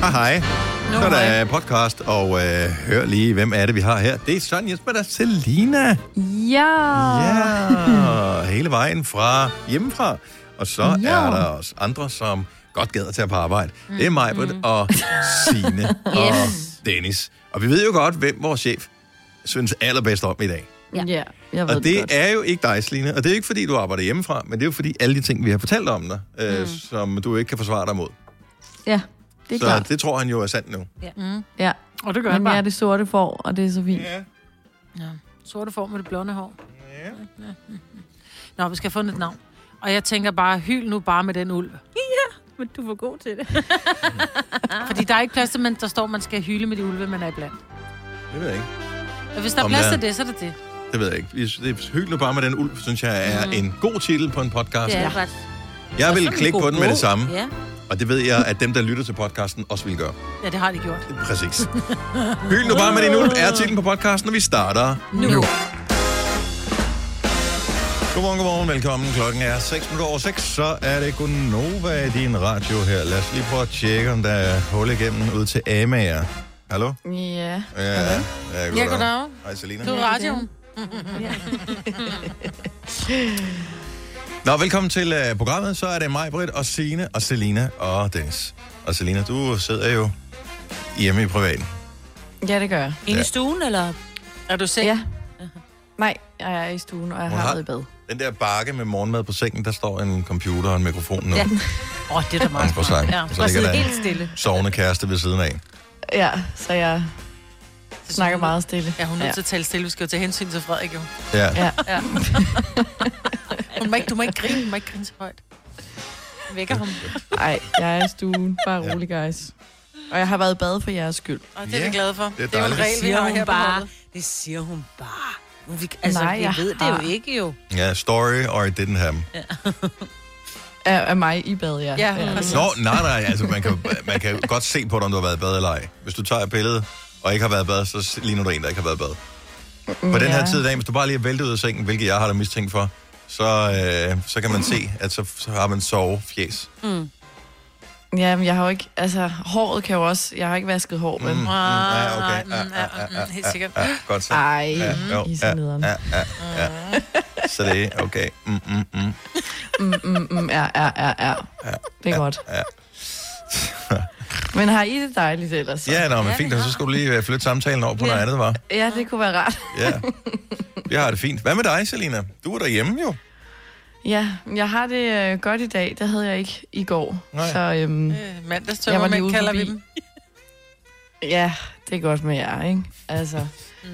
Hej Ah, hej. Nå, Så er der hej. podcast, og øh, hør lige, hvem er det, vi har her. Det er Søren Jesper, der er Selina. Ja. Hmm. Ja, hele vejen fra hjemmefra. Og så Ja. ja. er der også andre, som godt gad at tage på arbejde. Mm. Hmm. Det er Majbert mm. og Sine yes. og Dennis. Og vi ved jo godt, hvem vores chef synes allerbedst om i dag. Ja. ja. Jeg ved Og det godt. er jo ikke dig, Selina. Og det er ikke, fordi du arbejder hjemmefra, men det er jo, fordi alle de ting, vi har fortalt om dig, øh, mm. som du ikke kan forsvare dig mod. Ja, Hmm. det er Så klart. det tror han jo er sandt nu. Ja. Og det gør han Men jeg er bare. det sorte for, og det er så fint. Sorte får med det blonde hår. Nå, vi skal have fundet et navn. Og jeg tænker bare, hyl nu bare med den ulv. Men du var god til det. Ah. Fordi der er ikke plads til, men der står, man skal hyle med de ulve, man er iblandt. Det ved jeg ikke. Og hvis der er Om plads der- til det, så er det det. Det ved jeg ikke. Vi- Det er hyggeligt bare med den ulv, synes jeg er mm. en god titel på en podcast. Det Ja. er ret. Jeg vil Sådan en klikke god på den med det bog. samme, Ja. og det ved jeg, at dem, der lytter til podcasten, også vil gøre. Ja, det har de gjort. Præcis. Hyld nu bare med din ulv er titlen på podcasten, og vi starter nu. nu. Godmorgen, godmorgen, velkommen. Klokken er 6 minutter over 6, så er det Gunova i din radio her. Lad os lige prøve at tjekke, om der er hul igennem ud til Amager. Hallo? Ja. Ja, ja, ja Ja, goddag. Hej, Selina. Du er radioen. Nå, velkommen til uh, programmet. Så er det mig, Britt, og Sine og Selina og Dennis. Og Selina, du sidder jo hjemme i privaten. Ja, det gør jeg. Inde i Ja. stuen, eller? Er du selv? Ja. Nej, jeg er i stuen, og jeg Hun har har- været i bad. Den der bakke med morgenmad på sengen, der står en computer og en mikrofon Ja. nu. Ja. Åh, oh, det er da meget Og på slang. Ja. Så ligger der en helt stille. sovende kæreste ved siden af. Ja, så jeg snakker meget stille. Ja, hun er nødt Ja. til at tale stille. Vi skal jo tage hensyn til Frederik, jo. Ja. Ja. Hun må ikke, du må ikke grine. Du må ikke grine så højt. Vækker ham. Nej, jeg er i stuen. Bare rolig, guys. Og jeg har været i bad for jeres skyld. Og det er Ja, vi glade for. det er det er jo en dejligt. regel, vi Siger har her hun på bare. holdet. Det siger hun bare. Nu Vi, altså, Nej, Nej, vi jeg ved det har- jo ikke jo. ja, story or it didn't happen. Af, af mig i bad, ja. Øh, Ja, præcis. Nå, nej, nej, altså man kan, man kan godt se på dig, om du har været i bad eller ej. Hvis du tager et billede og ikke har været i bad, så ligner du en, der ikke har været i bad. På den her Ja. tid af dagen, hvis du bare lige er væltet ud af sengen, hvilket jeg har da mistænkt for, så, øh, så kan man se, at så, så har man sovefjes. Mm. Mm. Ja, men jeg har jo ikke... Altså, håret kan jo også... Jeg har ikke vasket hår, men... Mm, Mm. ja, okay. nej, mm, ja, mm, helt sikkert. Godt så. Ej, Ja, I er jo, ja, så nederen. ja, ja, ja. Så det er okay. Mm, mm, mm. Mm, mm, ja, ja, ja, ja. Det er godt. ja. Men har I det dejligt ellers? Ja, nå, men fint, og så skulle du lige øh, flytte samtalen over på noget andet, var. Ja, det kunne være rart. Ja. Jeg har det fint. Hvad med dig, Selina? Du er derhjemme jo. Ja, jeg har det øh, godt i dag. Det havde jeg ikke i går. Nej. Så øhm, Øh, Jeg var lige Mandagstømmermænd ude kalder vi forbi. dem. ja, det er godt med jer, ikke? Altså, Mm.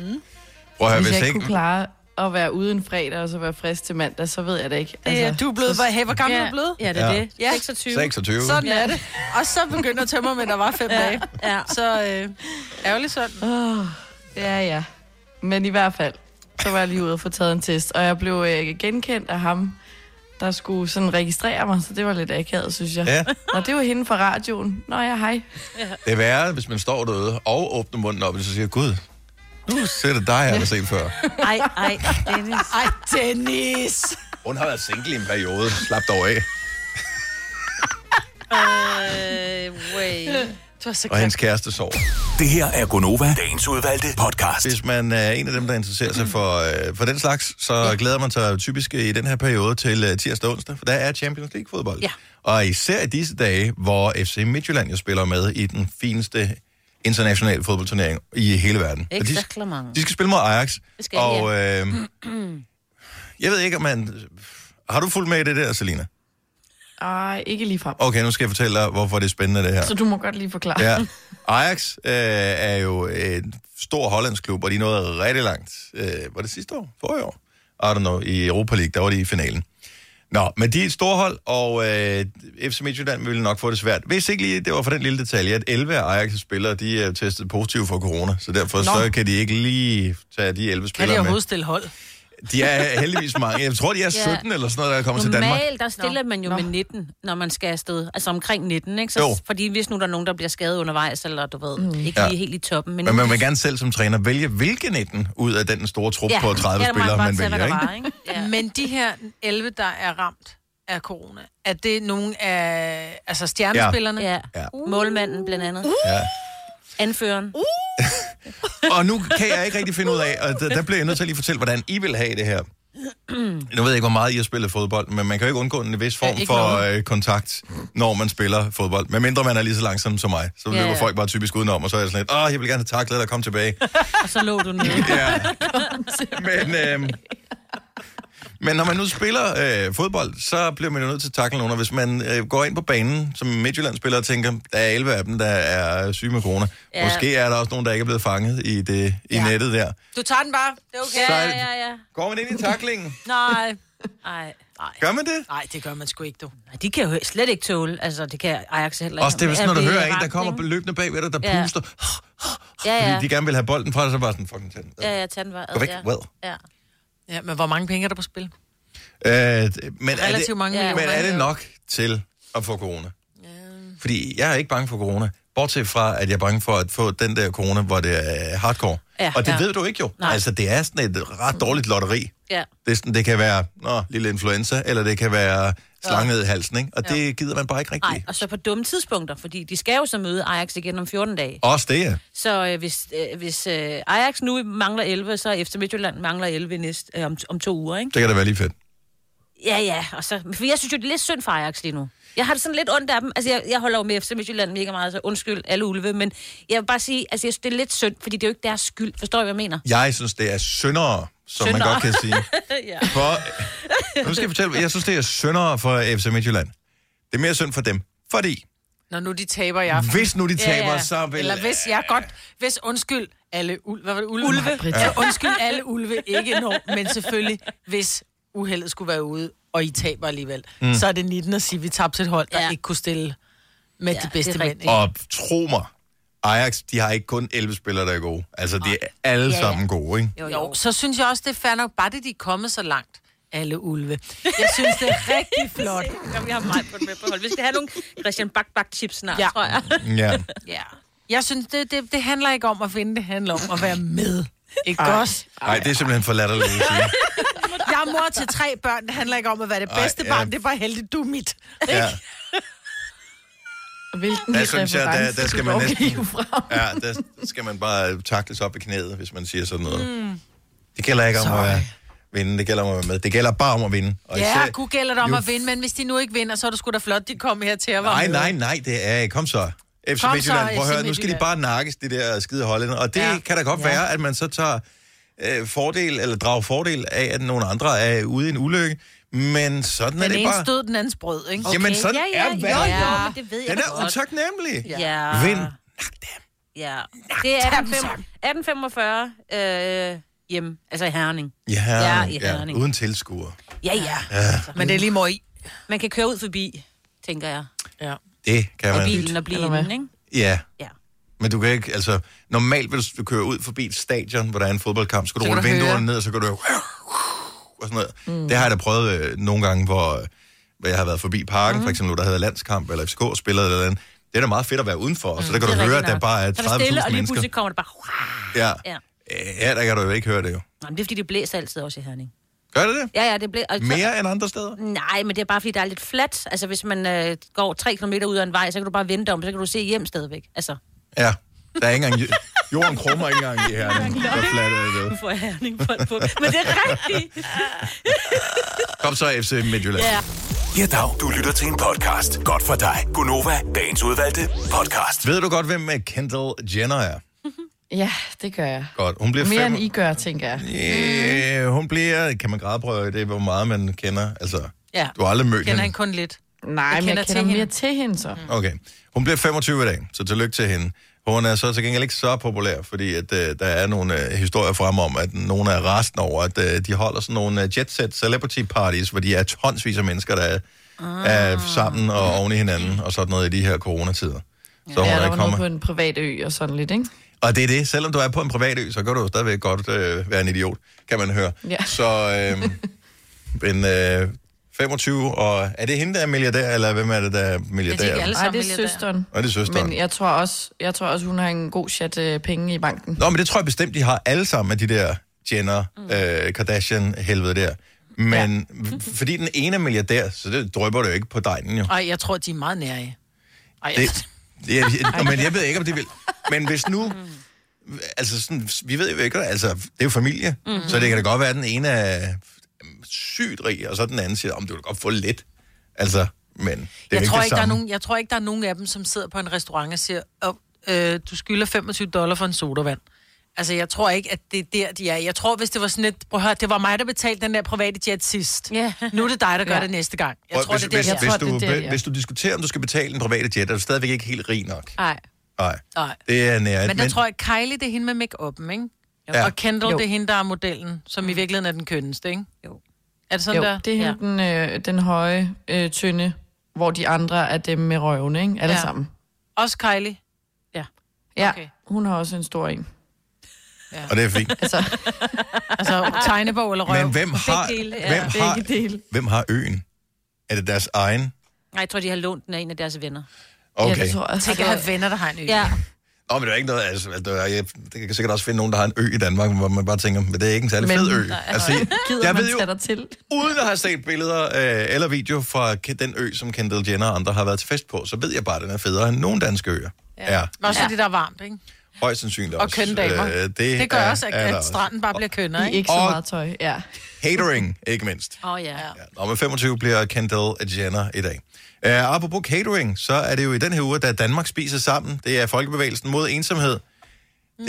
Prøv at høre, hvis hvis jeg ikke kunne ikke... klare at være ude en fredag og så være frisk til mandag, så ved jeg det ikke. Det er, Altså, du er blevet, hvor, hey, hvor gammel ja. er du blevet? Ja, det er Ja. det. Ja. 26. 26. Sådan er det. Og så begynder tømmermænd, der var fem dage. Ja. Så øh, ærgerligt sådan. Åh, ja, ja. Men i hvert fald, så var jeg lige ude og få taget en test, og jeg blev øh, genkendt af ham, der skulle sådan registrere mig, så det var lidt akavet, synes jeg. Ja, Nå, det var hende fra radioen. Nå ja, hej. det er værre, hvis man står derude og åbner munden op, og så siger, Gud, nu ser det dig, jeg har set før. Ej, ej, Dennis. Ej, Dennis! Hun har været single i en periode. Slap dog af. Øh, wait. Du er så Og glad. hendes kæreste sover. Det her er Gonova, dagens udvalgte podcast. Hvis man er en af dem, der interesserer sig for, øh, for den slags, så ja. glæder man sig typisk i den her periode til øh, tirsdag og onsdag, for der er Champions League-fodbold. Ja. Og især i disse dage, hvor FC Midtjylland jo spiller med i den fineste internationale fodboldturnering i hele verden. Og de, Exactement. de skal spille mod Ajax. Det skal de, og øhm, øh, jeg ved ikke, om man... Har du fulgt med i det der, Selina? Ej, ikke lige frem. Okay, nu skal jeg fortælle dig, hvorfor det er spændende, det her. Så du må godt lige forklare. Ja. Ajax øh, er jo en stor hollandsk klub, og de nåede rigtig langt. Øh, var det sidste år? Forrige år? I don't know. I Europa League, der var de i finalen. Nå, men de er et stort hold, og øh, FC Midtjylland ville nok få det svært. Hvis ikke lige, det var for den lille detalje, at 11 af Ajax' spillere, de er testet positive for corona, så derfor Nå. så kan de ikke lige tage de 11 Kan de spillere med. overhovedet stille hold? De er heldigvis mange. Jeg tror, de er 17 eller sådan noget, der er kommet til Danmark. Normalt, der stiller man jo Nå. med 19, når man skal afsted. Altså omkring 19, ikke? Så, Jo. Fordi hvis nu der er nogen, der bliver skadet undervejs, eller du ved, mm. ikke Ja. ja. lige helt i toppen. Men, Men man vil gerne selv som træner vælge, hvilken 19 ud af den store trup ja, på 30 ja, der må spillere, bare man tage, vælger. hvad der Ikke? var, ikke? Ja. Men de her 11, der er ramt af corona? Er det nogle af altså stjernespillerne? Uh. Ja. Ja. Målmanden blandt andet. Ja. Anføreren. Og nu kan jeg ikke rigtig finde ud af, og der, der bliver jeg nødt til at lige fortælle, hvordan I vil have det her. Nu ved jeg ikke, hvor meget I har spillet fodbold, men man kan jo ikke undgå en vis form Ja, ja, ikke for noget. øh, kontakt, når man spiller fodbold. Medmindre man er lige så langsom som mig, så Ja, løber ja. folk bare typisk udenom, og så er jeg sådan lidt, åh, jeg vil gerne have taklet dig, kom tilbage. Og så lå du nede. Ja. men, øh, men når man nu spiller øh, fodbold, så bliver man jo nødt til at takle nogen. Og hvis man øh, går ind på banen som Midtjylland-spiller og tænker, der er 11 af dem, der er syge med corona. Ja. Ja. Måske er der også nogen, der ikke er blevet fanget i, det, i ja. nettet der. Du tager den bare. Det er okay. Så Ja, ja, ja. går man ind i taklingen. Nej. Ej. Gør man det? Nej, det gør man sgu ikke, du. Ej, de kan jo slet ikke tåle. Altså, det kan Ajax heller ikke. Også det, hvis, At når du blive hører en, der ramt, kommer ikke? løbende bag ved dig, der Ja. puster, Ja, ja. fordi de gerne vil have bolden fra dig, så bare sådan, fucking tænd. Ja, ja, tandvejret. Gå væk, ja. well. Ja. Ja, men hvor mange penge er der på spil? Øh, men er det, Relativt mange Ja. men millioner. er ikke? det nok til at få corona? Fordi jeg er ikke bange for corona. Bortset fra, at jeg er bange for at få den der corona, hvor det er hardcore. Ja, og det ja. ved du ikke jo. Nej. Altså, det er sådan et ret dårligt lotteri. ja. Det, er sådan, det kan være nå, lille influenza, eller det kan være slange ned i halsen, ikke? Og det gider man bare ikke rigtigt. Ej, og så på dumme tidspunkter, fordi de skal jo så møde Ajax igen om 14 dage. Også det, ja. Så øh, hvis, øh, hvis øh, Ajax nu mangler 11, så efter Midtjylland mangler 11 næste, øh, om, om to uger, ikke? Det kan da være lige fedt. Ja, ja, og så, for jeg synes jo, det er lidt synd for Ajax lige nu. Jeg har det sådan lidt ondt af dem. Altså, jeg, jeg holder jo med FC Midtjylland mega meget, så undskyld alle ulve, men jeg vil bare sige, altså, jeg synes, det er lidt synd, fordi det er jo ikke deres skyld. Forstår I, hvad jeg mener? Jeg synes, det er syndere, som syndere. Syndere. man godt kan sige. ja. For, nu skal jeg fortælle, jeg synes, det er syndere for FC Midtjylland. Det er mere synd for dem, fordi Når nu de taber i aften. hvis nu de taber, ja, ja. ja. så vil... Eller hvis jeg godt... Hvis undskyld alle ulve... Hvad var det? Ulve? ulve. Ja. Undskyld alle ulve. Ikke nå, men selvfølgelig, hvis uheldet skulle være ude, og I taber alligevel, mm. så er det 19 at sige, at vi tabte et hold, der ja. Ja. ikke kunne stille med ja, de bedste det er mænd. rigtigt. Ikke? Og tro mig, Ajax, de har ikke kun 11 spillere, der er gode. Altså, de er alle ja. sammen gode, ikke? Jo, Jo, så synes jeg også, det er fair nok, bare det, de er kommet så langt, alle ulve. Jeg synes, det er rigtig flot. Kom, vi har meget på det på hold. Hvis det har nogle Christian Bak Bak chips snart, Ja. ja. tror jeg. Ja. Ja. Jeg synes, det, det, det handler ikke om at vinde, det handler om at være med. Ikke også? Nej, det er simpelthen for latterligt. at sige. Jeg er mor til tre børn, det handler ikke om at være det Ej, bedste ja. barn, det er bare heldigt, du er mit. Ja. Hvilken Der synes jeg, der- reference der skal du man dog næsten- hive frem. ja, der skal man bare takles op i knæet, hvis man siger sådan Mm. noget. Mm. Det gælder ikke om at være vinde, det gælder om at være med. Det gælder bare om at vinde. Og Ja, kunne gælder det om jo. at vinde, men hvis de nu ikke vinder, så er det sgu da flot, de kom her til at være Nej, med. nej, nej, det er Kom så. FC Kom så, Midtjylland, prøv at FC høre, nu skal de Midtjylland. bare nakkes, de der skide hollænder. Og det Ja. ja. kan da godt ja. være, at man så tager øh, fordel, eller drager fordel af, at nogle andre er ude i en ulykke. Men sådan er Den det ene bare. stod, den anden brød, ikke? Okay. Jamen, sådan ja, ja, er jo, verden. jo, men det ved jeg Den er godt. utaknemmelig. Ja. Ja. Vind. Ja. Det er 1845 øh, hjem. Altså i Herning. Ja, Ja, i ja, Herning. uden tilskuer. Ja, ja. Men det er lige mor i. Man kan køre ud forbi, tænker jeg. Ja. Det kan Og man. bilen og blive Eller hvad? inden, ikke? Ja. Ja. Men du kan ikke, altså, normalt hvis du kører ud forbi et stadion, hvor der er en fodboldkamp, så kan du Så kan rulle du vinduerne høre. ned, og så kan du og sådan noget. Mm. Det har jeg da prøvet øh, nogle gange, hvor, øh, hvor jeg har været forbi parken, mm. for eksempel, der havde landskamp, eller FCK spillet eller andet. Det er da meget fedt at være udenfor, og så der kan Mm. Det du er høre, rigtigt at der nok. bare er Så er der stille, 30.000 og lige mennesker. pludselig kommer det bare... Ja. Ja. Øh, ja, der kan du jo ikke høre det jo. Nå, men det er, fordi det blæser altid også i Herning. Gør det det? Ja, ja, det blæser... og så- Mere end andre steder? Nej, men det er bare, fordi der er lidt fladt. Altså, hvis man øh, går 3 km ud af en vej, så kan du bare vende dig om, så kan du se hjem stadigvæk. Altså, Ja. Der er ikke engang... Jorden krummer ikke engang i her. Så fladt er det. nu får jeg Herning på, på. Men det er rigtigt. Kom så, FC Midtjylland. Ja. Ja, dag. Du lytter til en podcast. Godt for dig. Gunova. Dagens udvalgte podcast. Ved du godt, hvem øh, Kendall Jenner er? Ja, det gør jeg. Godt. Hun bliver Mere fem... end I gør, tænker jeg. Yeah, Øh, hun bliver... Kan man gradprøve det, hvor meget man kender? Altså, Ja. du har aldrig mødt Kender han hende. kun lidt. Nej, men kender jeg til kender mere hende. til hende så. Mm. Okay. Hun bliver 25 i dag, så tillykke til hende. Hun er så til gengæld ikke så populær, fordi at, øh, der er nogle øh, historier frem om, at nogle er resten over, at øh, de holder sådan nogle øh, jet-set celebrity parties, hvor de er tonsvis af mennesker, der er, er Ah. sammen og oven i hinanden, og sådan noget i de her coronatider. Så hun Ja, er der ikke var noget kommet. på en privat ø og sådan lidt, ikke? Og det er det. Selvom du er på en privat ø, så kan du jo stadigvæk godt øh, være en idiot, kan man høre. Ja. Så, øh, men øh, 25, og er det hende, der er milliardær, eller hvem er det, der er milliardær? ikke alle. Nej, det Sammen er søsteren. Og det er søsteren. Men jeg tror også, jeg tror også hun har en god chat øh, penge i banken. Nå, men det tror jeg bestemt, de har alle sammen af de der Jenner, mm. øh, Kardashian-helvede der. Men ja. fordi den ene er milliardær, så det drøber det jo ikke på dejen jo. Ej, jeg tror, de er meget nære. Ej, Det, jeg, jeg, men jeg ved ikke, om det vil. Men hvis nu... Altså, sådan, vi ved jo ikke, altså, det er jo familie. Mm-hmm. Så det kan da godt være, at den ene er mm, sygt rig, og så den anden siger, om du kan godt få lidt. Altså, men det er jo jeg ikke tror det ikke, der er samme. nogen, jeg tror ikke, der er nogen af dem, som sidder på en restaurant og siger, oh, øh, du skylder 25 dollar for en sodavand. Altså, jeg tror ikke, at det er der, de er. Jeg tror, hvis det var sådan et, prøv at høre, det var mig, der betalte den der private jet sidst. Ja. Nu er det dig, der gør Ja. det næste gang. Jeg Prøv, tror, hvis, det er det, hvis, jeg hvis, tror, du, det er der, ja. hvis du diskuterer, om du skal betale en private jet, er du stadigvæk ikke helt rig nok. Nej. Nej, Nej. det er nært. Men der tror jeg, Kylie, det er hende med make-up'en, ikke? Ja. Ja. Og Kendall, Jo. Mm. det er hende, der er modellen, som i virkeligheden er den kønneste, ikke? Jo. Er det sådan Jo, der? det er hende, den, øh, den høje, øh, tynde, hvor de andre er dem med røven, ikke? Alle Ja. ja. sammen. Også Kylie. Ja, Okay. okay. hun har også en stor en. Og det er fint. Altså, Altså, tegnebog eller røv. Men hvem har, dele, ja. hvem, har, begge dele. hvem har øen? Er det deres egen? Nej, jeg tror, de har lånt den af en af deres venner. Okay. Ja, det tror jeg. Tænk, jeg Altså, har venner, der har en ø. Ja. Nå, men det er ikke noget, altså, altså, der er- jeg, det kan sikkert også finde nogen, der har en ø i Danmark, hvor man bare tænker, men det er ikke en særlig Men- fed ø. Altså, jeg, Gider jeg man ved jo... jo, tage dig til? uden at have set billeder øh, eller video fra Ke- den ø, som Kendall Jenner og andre har været til fest på, så ved jeg bare, at den er federe end nogen danske øer. Ja. Er Men Også ja. det, der er varmt, ikke? højst sandsynligt Og også. kønne damer. øh, det, Det gør er- også, at, er der at stranden bare bliver kønnere, I ikke? ikke så Og- meget tøj, ja. Catering, ikke mindst. Åh, oh, ja. ja. Ja, og med 25 bliver Kendall Jenner i dag. Uh, apropos catering, så er det jo i den her uge, da Danmark spiser sammen. Det er Folkebevægelsen mod ensomhed. Det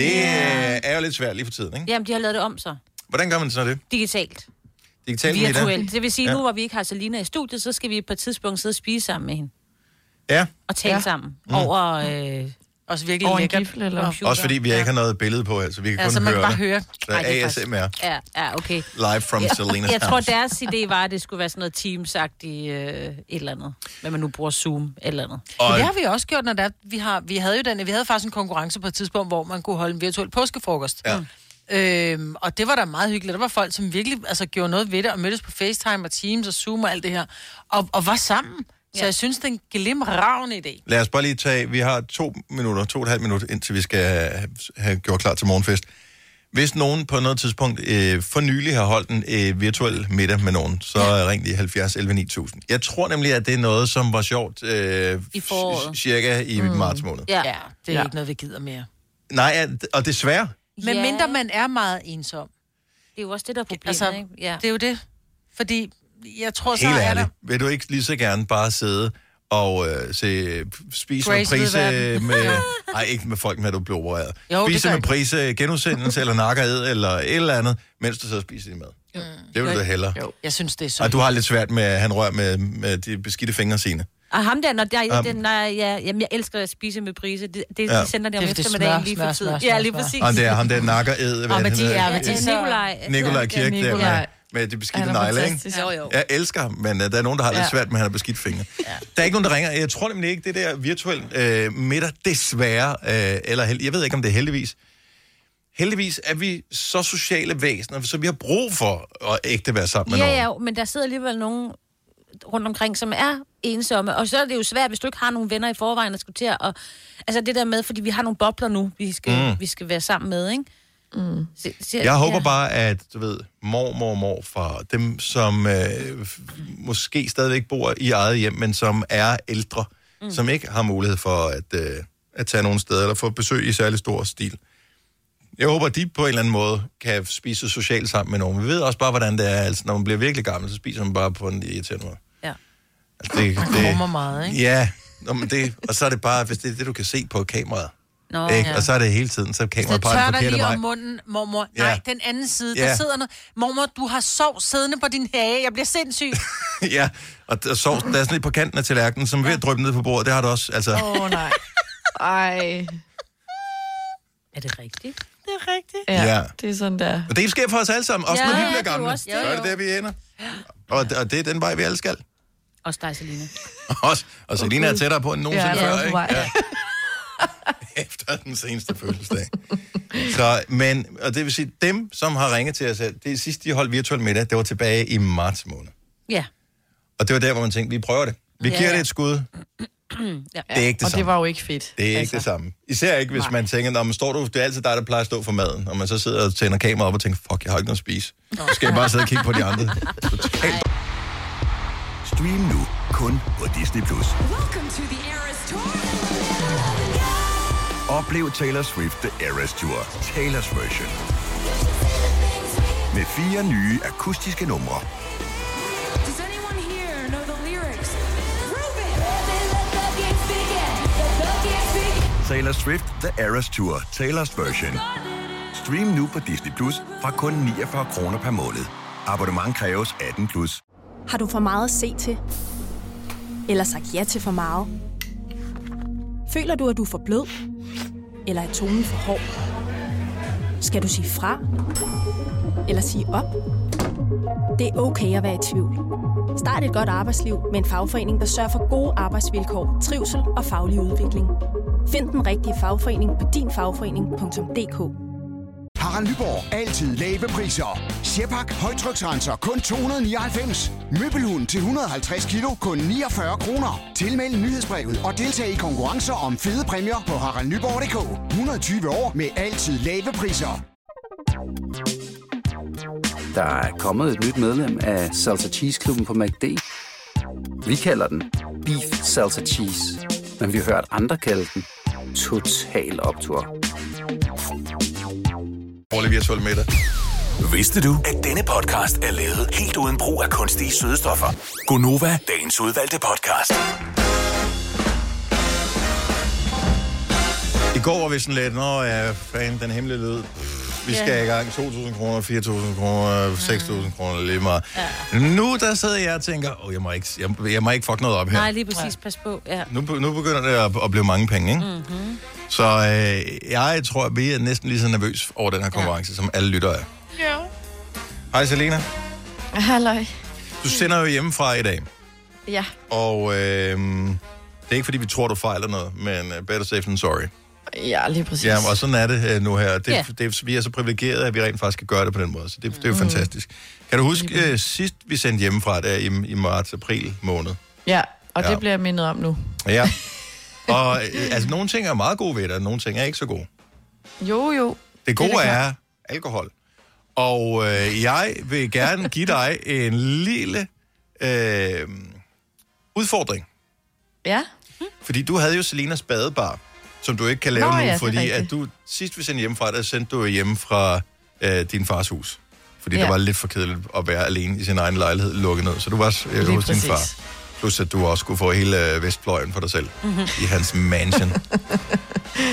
yeah. er jo lidt svært lige for tiden, ikke? Jamen, de har lavet det om så. Hvordan gør man så det? Digitalt. Digitalt Mia? Virtuelt. Det vil sige, Ja. ja. nu hvor vi ikke har Selina i studiet, så skal vi på et tidspunkt sidde og spise sammen med hende. Ja, Og tale Ja. ja. sammen mm. over... Øh, Også virkelig Over en lækkert. gifle, eller? computer. også fordi vi ikke har noget billede på her, så vi kan Ja, kun så man høre kan bare det. høre. Så Ej, det er faktisk- ASMR, Ja, ja, okay. live from ja. Selena's Jeg tror, house. deres idé var, at det skulle være sådan noget Teams-agtigt øh, et eller andet. Hvad man nu bruger Zoom eller andet. Men Og det har vi også gjort, når der, vi, har, vi havde jo den, vi havde faktisk en konkurrence på et tidspunkt, hvor man kunne holde en virtuel påskefrokost. Ja. Øhm, og det var da meget hyggeligt. Der var folk, som virkelig altså, gjorde noget ved det, og mødtes på FaceTime og Teams og Zoom og alt det her, og, og var sammen. Så jeg synes, det er en glimravende idé. lad os bare lige tage, vi har to minutter, to og et halvt minut, indtil vi skal have- have gjort klar til morgenfest. Hvis nogen på noget tidspunkt øh, for nylig har holdt en øh, virtuel middag med nogen, så ja. ring lige 70 11 9000. Jeg tror nemlig, at det er noget, som var sjovt øh, I foråret. c- cirka i mm. marts måned. Ja. Ja. Ja, ja. det er ja. Ja. ikke noget, vi gider mere. Nej, at- og desværre, Men ja. mindre man er meget ensom. Det er jo også det, der er problemet, Altså, altså, ikke? Ja. Det er jo det. Fordi jeg tror, så helt er der... ærligt, vil du ikke lige så gerne bare sidde og øh, se, spise Grace med prise ved verden. med... Nej, ikke med folk, når du bliver opereret. Jo, det spise gør med ikke. prise genudsendelse, eller nakkered, eller et eller andet, mens du sidder og spiser din mad. Jo. Det vil du da hellere. Jo. Jeg synes, det er så... Og du har lidt svært med, at han rører med, med de beskidte fingre sine. Og ham der, når jeg, Am. um, den, når jeg, jamen, jeg elsker at spise med brise. Det, det Ja. ja. sender det om Det er, fordi eftermiddagen smør, lige smør, for tiden. smør, smør, ja, lige smør. præcis. Og det er ham der nakker ed, hvad men han de hedder. er- men de Ja, så- Nikolaj. Nikolaj Kirk der med, Nikolaj. med de Han beskidte er negle, ikke? fantastisk. Jo, jo. Jeg elsker ham, men øh, der er nogen, der har lidt Ja. svært med, at han har beskidt fingre. Der er ikke nogen, der ringer. Jeg tror nemlig ikke, det der virtuelle øh, middag, desværre, øh, eller held, jeg ved ikke, om det er heldigvis. Heldigvis er vi så sociale væsener, så vi har brug for at ægte være sammen med Ja, nogen. ja, jo, men der sidder alligevel nogen rundt omkring, som er ensomme. Og så er det jo svært, hvis du ikke har nogen venner i forvejen, at skulle til at... Og, altså det der med, fordi vi har nogle bobler nu, vi skal, mm. vi skal være sammen med, ikke? Mm. Så, så, Jeg håber bare, at du ved, mormor og morfar, dem som øh, f- måske stadigvæk bor i eget hjem, men som er ældre, mm. som ikke har mulighed for at, øh, at tage nogen steder eller få besøg i særlig stor stil. Jeg håber, at de på en eller anden måde kan spise socialt sammen med nogen. Vi ved også bare, hvordan det er. Altså, når man bliver virkelig gammel, så spiser man bare på en irriterende måde. Ja. Altså, det, krummer meget, ikke? Ja, Nå, men det, og så er det bare, hvis det er det, du kan se på kameraet. Nå, ikke? ja. Og så er det hele tiden, så er Så kameraet peger tør den dig forkerte lige vej. om munden, mormor. Ja. Nej, den anden side, Ja. der sidder noget. Mormor, du har sov siddende på din hage. Jeg bliver sindssyg. Ja, og der, sovs, der er sådan lidt på kanten af tallerkenen, som er ved at drøbe ned på bordet. Det har du også. Altså, Åh, oh, nej. Ej. Er det rigtigt? Det er rigtigt. Ja, Ja. ja. det er sådan der. Men det sker for os alle sammen, også når Ja, vi ja, bliver det er jo gamle. også det. Så er det der, vi ender. Og, og det er den vej, vi alle skal. Også dig, Selina. Også, og Selina er tættere på end Ja, nogensinde jeg er før, allerede på ikke? vej. Ja. Efter den seneste fødselsdag. Så, men, og det vil sige, dem, som har ringet til os, her, det sidste, de holdt virtuel middag, det var tilbage i marts måned. Ja. Og det var der, hvor man tænkte, vi prøver det. Vi Ja, giver ja. det et skud. ja. Det er ikke det Og samme. det var jo ikke fedt. Det er altså. ikke det samme. Især ikke, hvis Nej. man tænker, når man står du, det er altid dig, der plejer at stå for maden, og man så sidder og tænder kameraet op og tænker, fuck, jeg har ikke noget at spise. Så skal jeg bare sidde og kigge på de andre. Totalt. Stream nu kun på Disney+. Plus. Oplev Taylor Swift The Eras Tour, Taylor's version. Med fire nye akustiske numre. Taylor Swift The Eras Tour, Taylor's version. Stream nu på Disney Plus fra kun 49 kroner per måned. Abonnement kræves 18 plus. Har du for meget at se til? Eller sagt ja til for meget? Føler du, at du er for blød? Eller er tonen for hård? Skal du sige fra? Eller sige op? Det er okay at være i tvivl. Start et godt arbejdsliv med en fagforening, der sørger for gode arbejdsvilkår, trivsel og faglig udvikling. Find den rigtige fagforening på dinfagforening.dk. Harald Nyborg. Altid lave priser. Sjehpak. Højtryksrenser. Kun 299. Møbelhund til 150 kilo. Kun 49 kroner. Tilmeld nyhedsbrevet og deltag i konkurrencer om fede præmier på haraldnyborg.dk. 120 år med altid lave priser. Der er kommet et nyt medlem af Salsa Cheese Klubben på MACD. Vi kalder den Beef Salsa Cheese, men vi har hørt andre kalde den Total Optor. Prøv lige at tåle med dig. Vidste du, at denne podcast er lavet helt uden brug af kunstige sødestoffer? Gonova, dagens udvalgte podcast. I går var vi sådan lidt, nå ja, fan, den hemmelige lyd. Pff, Vi skal i gang. 2.000 kroner, 4.000 kroner, 6.000 kroner, lige meget. Nu der sidder jeg og tænker, åh, jeg må ikke, jeg, jeg må ikke fuck noget op her. Nej, lige præcis. Pas på. Ja. Nu, be- nu begynder det at, at blive mange penge, ikke? Mm-hmm. Så øh, jeg tror, at vi er næsten lige så nervøs over den her konkurrence, ja. som alle lyttere er. Jo. Hej Selena, Halløj. du sender jo hjemmefra i dag, Ja. og øh, det er ikke fordi, vi tror, du fejler noget, men uh, better safe than sorry. Ja, lige præcis. Ja, og sådan er det øh, nu her. Det, Ja. yeah. det, vi er så privilegerede, at vi rent faktisk kan gøre det på den måde, så det, det er jo fantastisk. Kan du huske øh, sidst, vi sendte hjemmefra, der i, i marts-april måned? Ja, og Ja. det bliver jeg mindet om nu. Ja. og øh, altså, nogle ting er meget gode ved det, og nogle ting er ikke så gode. Jo, jo. Det gode da det er, klart. er alkohol. Og øh, jeg vil gerne give dig en lille øh, udfordring. Ja. Fordi du havde jo Selinas badebar, som du ikke kan lave Nå Nå, nu, ja, det ja, er fordi rigtigt. at du, sidst vi sendte hjemmefra, der sendte du jo hjemme fra øh, din fars hus. Fordi ja. Ja. det var lidt for kedeligt at være alene i sin egen lejlighed lukket ned. Så du var øh, Lige hos din præcis. far. Plus at du også skulle få hele øh, Vestfløjen for dig selv Mhm. mm-hmm. i hans mansion.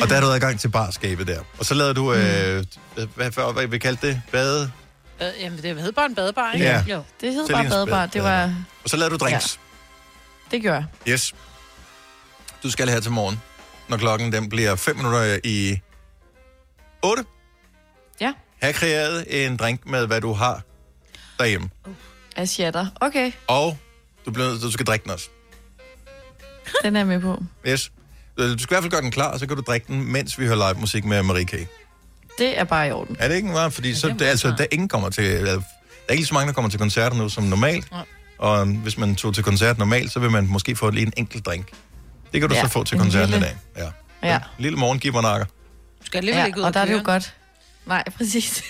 og der er du adgang til barskabet der. Og så lavede du, Mhm. øh, hvad, hvad, hvad, hvad vi kaldte det? Bade? Bad, jamen, det hedder bare en badebar, ikke? Ja. Jo. Det hed bare Selinas badebar. Det var... Og så lavede du drinks. Det gjorde jeg. Ja. Yes. Du skal her til morgen, når klokken den bliver 5 minutter i 8. Ja. Her kreeret en drink med, hvad du har derhjemme. Jeg shatter. Okay, Og du, bliver, nødt til- du skal drikke den også. den er jeg med på. Yes. Øh, Du skal i hvert fald gøre den klar, og så kan du drikke den, mens vi hører live musik med Marie K. Det er bare i orden. Er det ikke meget? Fordi så, det, er altså, der, er ingen kommer til, eller, der er ikke lige så mange, der kommer til koncerter nu som normalt. Og øhm, hvis man tog til koncert normalt, så vil man måske få lige en enkelt drink. Det kan du ja, Ja, så få til en koncerten i lille- dag. Ja. Ja. En Lille morgengibernakker. Du skal alligevel ikke ud Ja, og der er det jo køre. godt. Nej, præcis.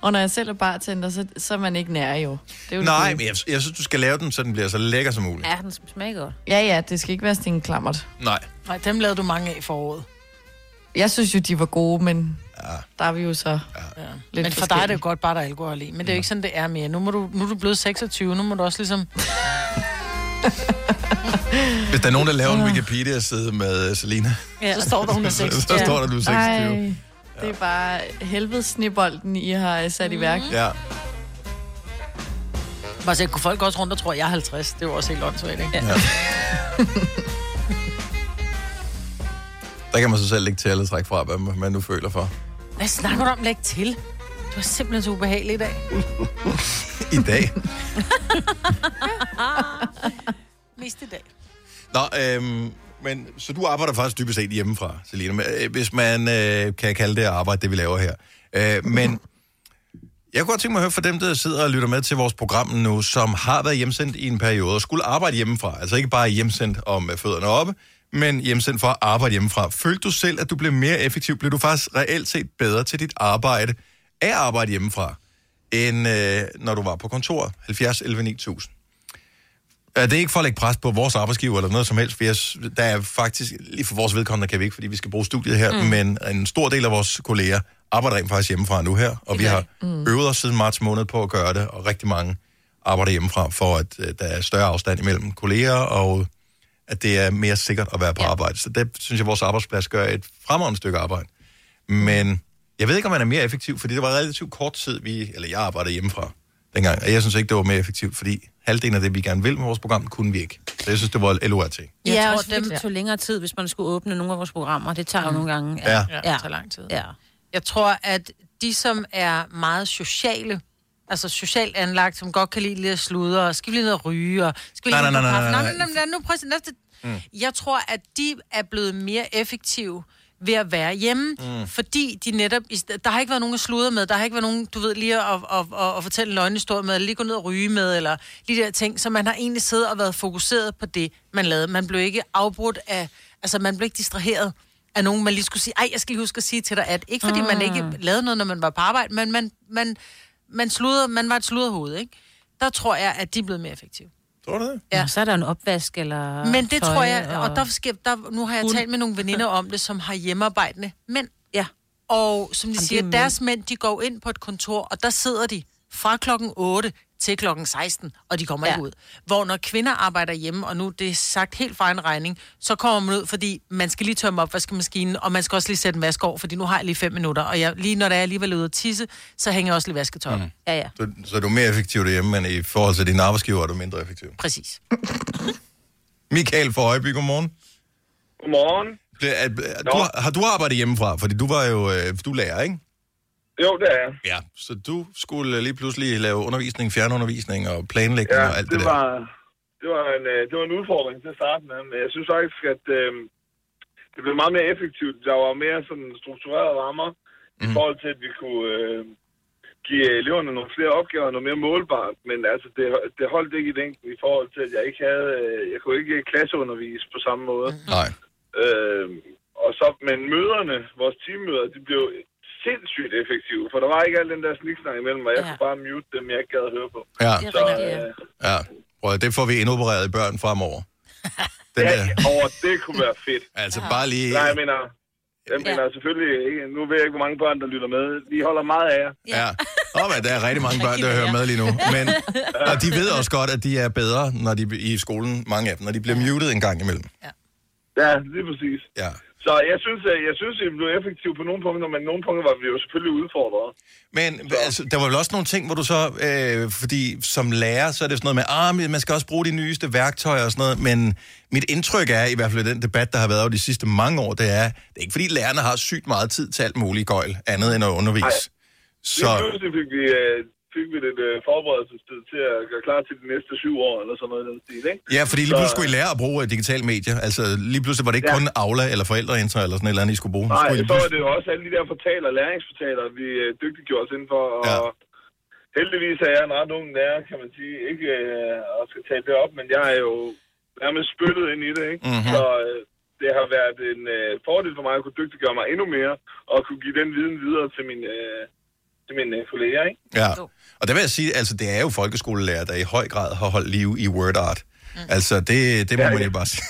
og når jeg selv er bartender, så, så er man ikke nær jo. Det er jo det Nej, gode. men jeg, jeg synes, du skal lave den, så den bliver så lækker som muligt. Ja, den smager godt. Ja, ja, det skal ikke være sådan en klammert. Nej. Nej, dem lavede du mange af i foråret. Jeg synes jo, de var gode, men ja. der er vi jo så... Lidt men for dig er det jo godt bare, der er alkohol i. Men det er jo ikke sådan, det er mere. Nu, må du, nu er du blevet 26, nu må du også ligesom... Hvis der er nogen, der laver en Wikipedia-side med uh, Selina, Ja. Så står der, hun er så, 26. så står der, du er 26. Ej, det er bare helvedes snebolden, I har sat i værk. Ja. Bare se, kunne folk også rundt og tro, at jeg er 50. Det er jo også helt åndssvagt, ikke? Ja. Der kan man så selv ikke til at trække fra, hvad man nu føler for. Hvad snakker du om? Læg til. Du er simpelthen så ubehagelig i dag. I dag. Mest i dag. Nå, øhm, men, så du arbejder faktisk dybest set hjemmefra, Selina, men, øh, hvis man øh, kan kalde det arbejde, det vi laver her. Øh, men Jeg kunne godt tænke mig at høre fra dem, der sidder og lytter med til vores program nu, som har været hjemsendt i en periode og skulle arbejde hjemmefra. Altså ikke bare hjemsendt om øh, fødderne oppe, men hjemsendt for at arbejde hjemmefra. Følte du selv, at du blev mere effektiv? Blev du faktisk reelt set bedre til dit arbejde af at arbejde hjemmefra, end øh, når du var på kontoret? 70 11 9000. Ja, det er ikke for at lægge pres på vores arbejdsgiver eller noget som helst, for jeg, s- der er faktisk, lige for vores vedkommende kan vi ikke, fordi vi skal bruge studiet her, mm. men en stor del af vores kolleger arbejder rent faktisk hjemmefra nu her, og vi har mm. øvet os siden marts måned på at gøre det, og rigtig mange arbejder hjemmefra, for at øh, der er større afstand imellem kolleger, og at det er mere sikkert at være på ja. arbejde. Så det synes jeg, vores arbejdsplads gør et fremragende stykke arbejde. Men jeg ved ikke, om man er mere effektiv, fordi det var relativt kort tid, vi, eller jeg arbejdede hjemmefra dengang, og jeg synes ikke, det var mere effektivt, fordi halvdelen af det, vi gerne vil med vores program, kunne vi ikke. Så jeg synes, det var LORT. Jeg Jeg ja, tror, tror, også det- fordi det tog længere tid, hvis man skulle åbne nogle af vores programmer. Det tager jo nogle gange. Ja. Ja, det tager lang tid. ja. Jeg tror, at de, som er meget sociale, altså socialt anlagt, som godt kan lide lidt at sludre, og skal vi lige ned og ryge, og skal vi lige ned Nej, nej, og nej, kaffe? nej, Nej, nej. Mm. nej, nej, nu prøv at se, næste. Jeg tror, at de er blevet mere effektive ved at være hjemme, mm. fordi de netop, i sted- der har ikke været nogen at sludre med, der har ikke været nogen, du ved, lige at, at, at, at, at fortælle en løgnhistorie med, eller lige gå ned og ryge med, eller lige de der ting, så man har egentlig siddet og været fokuseret på det, man lavede. Man blev ikke afbrudt af, altså man blev ikke distraheret af nogen, man lige skulle sige, ej, jeg skal lige huske at sige til dig, at ikke fordi mm. man ikke lavede noget, når man var på arbejde, men man, man, man, sludrede, man var et sludderhoved, ikke? Der tror jeg, at de er blevet mere effektive. Tror du det? ja. Så er der en opvask eller Men det Ah, tøj, tror jeg, og der, sker, der nu har jeg talt med nogle veninder om det, som har hjemmearbejdende mænd. Ja. Og som de er siger, mænd. deres mænd, de går ind på et kontor, og der sidder de fra klokken 8 til klokken 16, og de kommer ja. Ja. ikke ud. Hvor når kvinder arbejder hjemme, og nu er det er sagt helt fra en regning, så kommer man ud, fordi man skal lige tømme opvaskemaskinen, og man skal også lige sætte en vask over, fordi nu har jeg lige fem minutter, og jeg, lige når der er alligevel ude at tisse, så hænger jeg også lige vasketøj. Mm. Ja, ja. Så, så er du mere effektiv derhjemme, men i forhold til dine arbejdsgiver er du mindre effektiv. Præcis. Michael fra Højby, godmorgen. Godmorgen. Ble, er, er, du, har- har du arbejdet hjemmefra? Fordi du var jo øh, du er lærer, ikke? Jo, det er jeg. Ja. Så du skulle lige pludselig lave undervisning, fjernundervisning og planlægning Ja, og alt det, det der. var, det, var en, øh, det var en udfordring til at starte med, men jeg synes faktisk, at øh, det blev meget mere effektivt. Der var mere sådan strukturerede rammer mm. i Mhm. forhold til, at vi kunne øh, give eleverne nogle flere opgaver, noget mere målbart, men altså, det, det holdt ikke i længden i forhold til, at jeg ikke havde, øh, jeg kunne ikke klasseundervise på samme måde. Mhm. Mm. Nej. Øh, og så, men møderne, vores teammøder, de blev sindssygt effektive, for der var ikke al den der sniksnak imellem, og jeg ja. Ja. kunne bare mute dem, jeg ikke gad at høre på. Ja, Det er Så, rigtigt, ja. øh, ja. Prøv, at- det får vi indopereret i børn fremover. Den ja, der, over, det kunne være fedt. altså bare lige... Nej, jeg mener, jeg mener selvfølgelig ikke, nu ved jeg ikke, hvor mange børn, der lytter med. Vi holder meget af jer. Ja. Åh, men der er rigtig mange børn, der hører med lige nu. Men, og de ved også godt, at de er bedre når de, i skolen, mange af dem, når de bliver muted en gang imellem. Ja, lige præcis. Ja. Så jeg synes, at jeg synes, at vi blev effektive på nogle punkter, men nogle punkter var vi jo selvfølgelig udfordret. Men altså, der var vel også nogle ting, hvor du så... Øh, fordi som lærer, så er det sådan noget med, ah, men man skal også bruge de nyeste værktøjer og sådan noget, men mit indtryk er, i hvert fald i den debat, der har været over de sidste mange år, det er, det er ikke fordi lærerne har sygt meget tid til alt muligt gøjl, andet end at undervise. Så... Så, Pludselig fik vi, øh, fik vi lidt øh, forberedelsestid til at gøre klar til de næste syv år, eller sådan noget i den stil, ikke? ja, fordi lige Så- pludselig skulle I lære at bruge øh, digitale medier. Altså, lige pludselig var det ikke Ja. kun Aula eller forældreintra eller sådan et eller andet, I skulle bruge. Nej, Skulle I så pludselig- var det jo også alle de der fortaler, læringsportaler, vi øh, dygtiggjorde os indenfor, og Ja. ja. heldigvis er jeg en ret ung lærer, kan man sige, ikke øh, at skal tale det op, men jeg er jo nærmest spyttet ind i det, ikke? Mhm. Så øh, det har været en øh, fordel for mig at kunne dygtiggøre mig endnu mere, og kunne give den viden videre til mine, øh, til mine øh, kolleger, ikke? Ja, og der vil jeg sige, altså det er jo folkeskolelærer, der i høj grad har holdt liv i word art. Mm. Altså det, det må Ja, man ja. jo bare sige.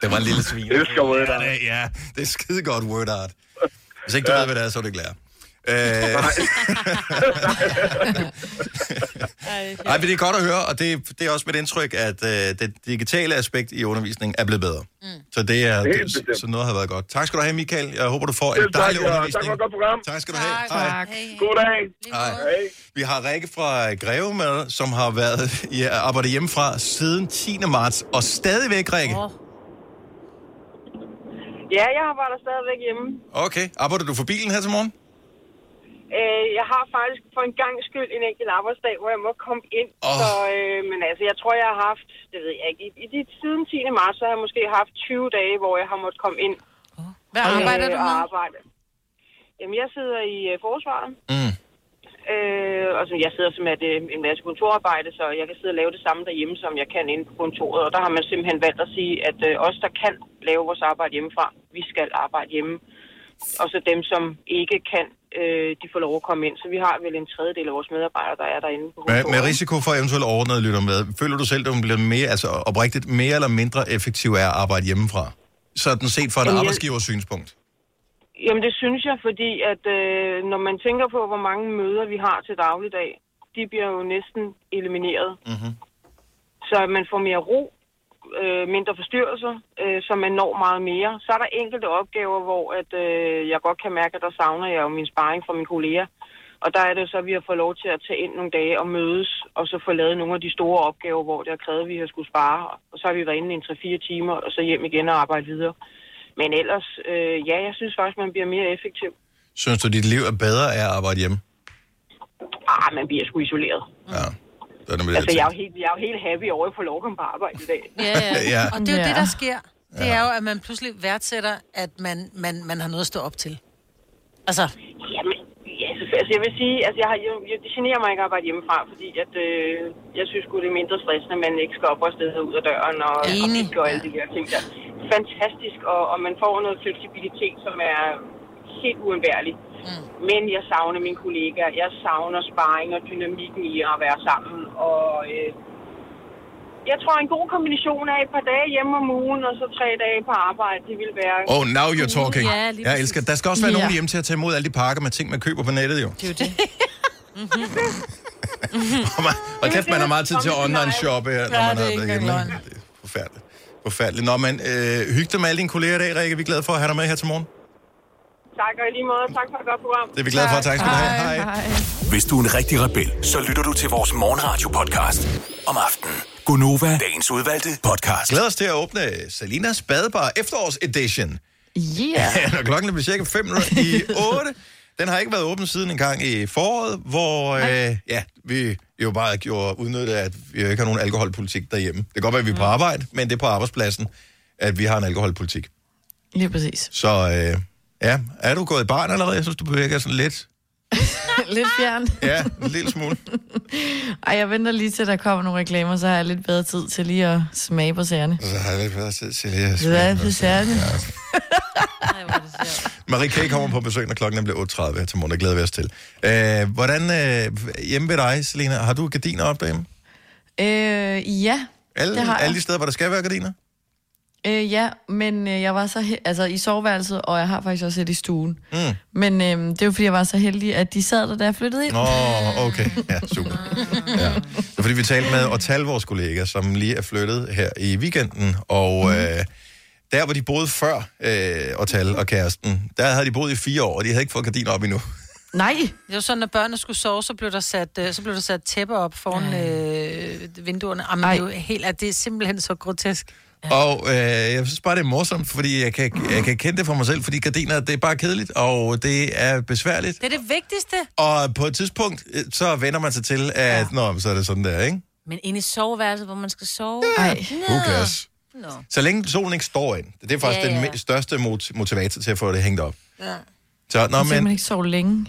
det var en lille svin. Det skal word art. Ja, det- Ja, det er skide godt word art. Hvis ikke du ja. ved, hvad det er, så er du ikke lærer. Øh, Nej, men det er godt at høre, og det, det er også mit indtryk, at øh, det digitale aspekt i undervisningen er blevet bedre. Mm. Så det er, Helt det, bestemt. så noget har været godt. Tak skal du have, Michael. Jeg håber, du får en Selv tak, dejlig og tak undervisning. for et godt program. Tak skal du have. Hej. Tak. God dag! Hej. Hej. Vi har Rikke fra øh, Greve med, som har været ja, arbejdet hjemmefra siden 10. marts, og stadigvæk, Rikke. Åh. Ja, jeg arbejder stadigvæk hjemme. Okay. Arbejder du for bilen her til morgen? Øh, jeg har faktisk for en gang skyld en enkelt arbejdsdag, hvor jeg må komme ind. Åh. Oh. Så, øh, men altså, jeg tror, jeg har haft, det ved jeg ikke, i, i de, siden 10. marts, så har jeg måske haft 20 dage, hvor jeg har måttet komme ind Hvad arbejder du og med? arbejde. Jamen, jeg sidder i øh, forsvaret. Mm. Øh, og som jeg sidder som at, øh, en masse kontorarbejde, så jeg kan sidde og lave det samme derhjemme, som jeg kan inde på kontoret. Og der har man simpelthen valgt at sige, at øh, os, der kan lave vores arbejde hjemmefra, vi skal arbejde hjemme. Og så dem, som ikke kan, øh, de får lov at komme ind. Så vi har vel en tredjedel af vores medarbejdere, der er derinde på Med, kontoret. med risiko for eventuelt overordnet lytter med, føler du selv, at du bliver mere, altså oprigtigt, mere eller mindre effektiv af at arbejde hjemmefra? Sådan set fra en Jamen, jeg- arbejdsgivers synspunkt. Jamen det synes jeg, fordi at øh, når man tænker på, hvor mange møder vi har til dagligdag, de bliver jo næsten elimineret. Mhm. Så man får mere ro, øh, mindre forstyrrelser, øh, så man når meget mere. Så er der enkelte opgaver, hvor at, øh, jeg godt kan mærke, at der savner jeg jo min sparring fra mine kolleger. Og der er det jo så, at vi har fået lov til at tage ind nogle dage og mødes, og så få lavet nogle af de store opgaver, hvor det har krævet, at vi har skulle spare. Og så har vi været inde i en 3-4 timer, og så hjem igen og arbejde videre. Men ellers, øh, ja, jeg synes faktisk, man bliver mere effektiv. Synes du, dit liv er bedre af at arbejde hjemme? Ah, man bliver sgu isoleret. Ja. Sådan vil jeg Altså, jeg er jo tænke. helt, jeg er jo helt happy over, at jeg får lov at komme på arbejde i dag. Ja, Ja. Og det er jo Ja. det, der sker. Det er jo, at man pludselig værdsætter, at man, man, man har noget at stå op til. Altså, Jamen, yes, altså, jeg vil sige, altså, jeg har, jeg, jeg, det generer mig ikke at arbejde hjemmefra, fordi at, øh, jeg synes sgu, det er mindre stressende, at man ikke skal op og sted ud af døren og, og Enig. kigge og alle de der ting der. Fantastisk, og, og man får noget fleksibilitet, som er helt uundværlig. Mm. Men jeg savner mine kollegaer, jeg savner sparring og dynamikken i at være sammen, og... Øh, jeg tror, en god kombination af et par dage hjemme om ugen, og så tre dage på arbejde, det vil være... Oh, now you're talking. Ja, lige jeg præcis. elsker. Der skal også være Ja. nogen hjemme til at tage imod alle de pakker med ting, man køber på nettet, jo. Det er jo det. Og man- og kæft, man har meget tid til at online-shoppe, her, når man det er har ikke været hjemme. engang Det er forfærdeligt. Forfærdeligt. Nå, men øh, hyg dig med alle dine kolleger i dag, Rikke. Vi er glade for at have dig med her til morgen. Tak, og i lige måde, tak for et godt program. Det er vi glade for. Tak skal du have. Hej. Hvis du er en rigtig rebel, så lytter du til vores morgenradio-podcast om aftenen. Gunova, dagens udvalgte podcast. Glæder os til at åbne Salinas Badebar efterårs-edition. Yeah. Når klokken bliver cirka 5 i 8. Den har ikke været åben siden en gang i foråret, hvor øh, ja, vi jo bare gjorde udnyttet, at vi jo ikke har nogen alkoholpolitik derhjemme. Det kan godt være, at vi er på Mm. arbejde, men det er på arbejdspladsen, at vi har en alkoholpolitik. Lige præcis. Så øh, ja, er du gået i barn allerede? Jeg synes, du bevæger sådan lidt. Lidt fjern. Ja, en lille smule. Ej, jeg venter lige til, der kommer nogle reklamer, så har jeg lidt bedre tid til lige at smage på sagerne. Så har jeg lidt bedre tid til at Det er på sagerne. Marie K. kommer på besøg, når klokken bliver 8.30 her til morgen. Det glæder vi os til. Øh, hvordan øh, hjemme ved dig, Selina, har du gardiner op derhjemme? Øh, ja. Alle, Det har jeg. alle de steder, hvor der skal være gardiner? Øh, ja, men øh, jeg var så he- altså i soveværelset, og jeg har faktisk også et i stuen. Mm. Men øh, det var, fordi jeg var så heldig, at de sad der, da jeg flyttede ind. Nå, okay. Ja, super. Ja. Det er fordi, vi talte med Otal, vores kollega, som lige er flyttet her i weekenden, og Mhm. mm. øh, der, hvor de boede før øh, Otal og kæresten, der havde de boet i fire år, og de havde ikke fået gardiner op endnu. Nej, det var sådan, at børnene skulle sove, så blev der sat, øh, så blev der sat tæppe op foran øh, vinduerne. Jamen, det er jo helt, at det er simpelthen så grotesk. Og øh, jeg synes bare, det er morsomt, fordi jeg kan, jeg kan kende det for mig selv, fordi gardiner, det er bare kedeligt, og det er besværligt. Det er det vigtigste. Og på et tidspunkt, øh, så vender man sig til, at ja. nå, men så er det sådan der, ikke? Men inde i soveværelset, hvor man skal sove. nej. Who cares? Nå. Så længe solen ikke står ind. Det er faktisk Ja, ja, ja. ja. den me- største mot- motivator til at få det hængt op. Ja. Så, nå, Så kan man men, ikke sove længe.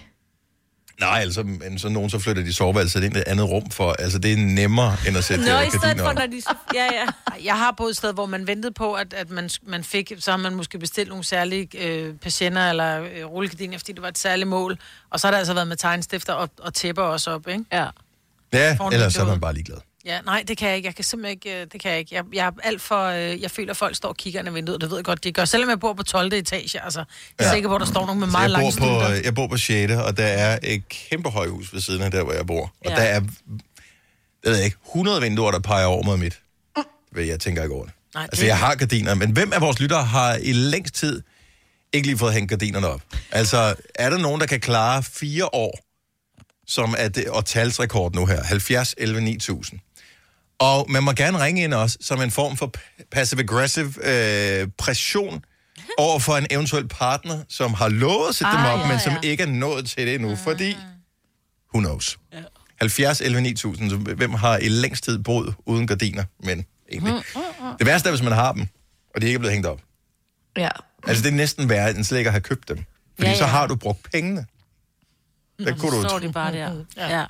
nej, altså, men så nogen så flytter de soveværelset ind i et andet rum, for altså, det er nemmere, end at sætte Nå, øh, i stedet gardiner for, op. når de... Ja, ja. Ej, Jeg har boet et sted, hvor man ventede på, at, at man, man fik, så har man måske bestilt nogle særlige øh, patienter eller øh, rullegardiner, fordi det var et særligt mål. Og så har der altså været med tegnstifter og, og tæpper også op, ikke? ja. Ja, foran ellers så er man vinduet. bare ligeglad. Ja, nej, det kan jeg ikke. Jeg kan simpelthen ikke, øh, det kan jeg ikke. Jeg, jeg er alt for, øh, jeg føler, at folk står og kigger ind ad vinduet, det ved jeg godt, de gør. Selvom jeg bor på 12. etage, altså, jeg er Ja. ja. sikker på, at der står nogen med Så meget jeg, lange bor på, stunder. øh, jeg bor på 6. og der er et kæmpe højhus ved siden af der, hvor jeg bor. Og ja. Ja. der er, jeg ved ikke, 100 vinduer, der peger over mod mit. Men jeg tænker ikke over det. Nej, det altså, jeg har gardiner, men hvem af vores lyttere har i længst tid ikke lige fået hængt gardinerne op? Altså, er der nogen, der kan klare fire år, som er det, og talsrekord nu her, 70, 11, 9000? Og man må gerne ringe ind også, som en form for passive-aggressive øh, pression over for en eventuel partner, som har lovet at sætte dem Ah, op, ja, men som ja. ikke er nået til det endnu, fordi who knows. 70, 11, 9000, så hvem har i længst tid boet uden gardiner, men Mm, egentlig. Det værste er, hvis man har dem, og de ikke er blevet hængt op. Ja. Altså, det er næsten værre, end slet ikke at have købt dem. Fordi ja, Ja, ja. så ja. har du brugt pengene. Der kunne du... Så står de bare der. Ja.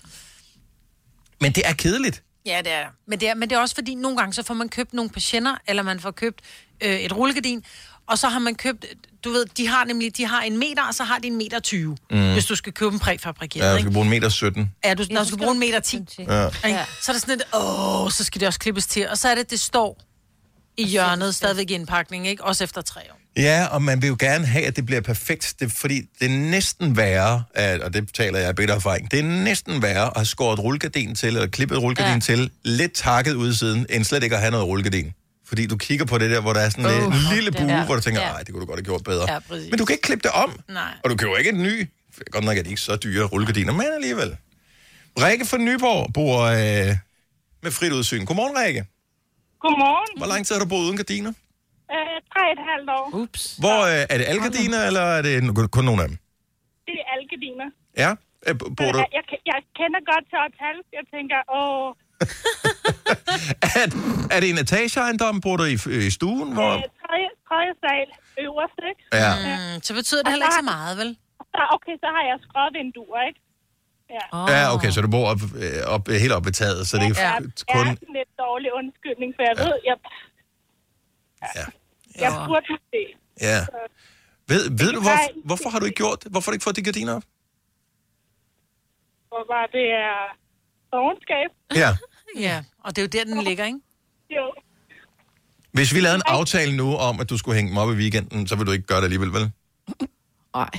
Men det er kedeligt. Ja, det er det. men det er, men det er også fordi, nogle gange så får man købt nogle patienter, eller man får købt øh, et rullegardin, og så har man købt, du ved, de har nemlig, de har en meter, og så har de en meter 20, mm. hvis du skal købe en præfabrikeret, Ja, ja, du ikke? skal bruge en meter 17. Ja, du, når du skal bruge en meter 10, ikke? Ja. så er der sådan et, åh, så skal det også klippes til, og så er det, det står i hjørnet stadigvæk i indpakning, ikke? Også efter tre år. Ja, og man vil jo gerne have, at det bliver perfekt, det, fordi det er næsten værre, at, og det taler jeg af bedre erfaring, det er næsten værre at have skåret rullegardin til, eller klippet rullegardin ja. til, lidt takket ud i siden, end slet ikke at have noget rullegardin. Fordi du kigger på det der, hvor der er sådan uh, en lille bue, ja. hvor du tænker, Ja. nej, det kunne du godt have gjort bedre. Ja, præcis. Men du kan ikke klippe det om, Nej. og du køber ikke en ny. Godt nok er de ikke så dyre rullegardiner, men alligevel. Rikke fra Nyborg bor øh, med frit udsyn. Godmorgen, Rikke. Godmorgen. Hvor lang tid har du boet uden gardiner? Øh, tre og et halvt år. Ups. Hvor øh, er det algardiner, eller er det kun nogle af dem? Det er alle gardiner. Ja, øh, b- bor du... Jeg, jeg, jeg kender godt til at tale. Jeg tænker, åh, Er, er det en etageejendom? Bor du i, øh, i stuen? Hvor... øh, tredje, tredje sal øverst, ikke? Ja. Mm, så betyder det heller ikke så meget, vel? Så, okay, så har jeg skråvinduer, ikke? Ja. ja, okay, så du bor op, øh, op, øh, helt oppe ved taget, så det er Ja, ja. kun... kun... er sådan lidt dårlig undskyldning, for jeg ved, jeg, Ja. jeg burde have det. ja. Ved, ved du, hvor, hvorfor har du ikke gjort det? Hvorfor har du ikke fået de gardiner op? Hvor var det er ovenskab? Ja. Ja, og det er jo der, den ligger, ikke? Jo. Hvis vi lavede en aftale nu om, at du skulle hænge dem op i weekenden, så vil du ikke gøre det alligevel, vel? Nej.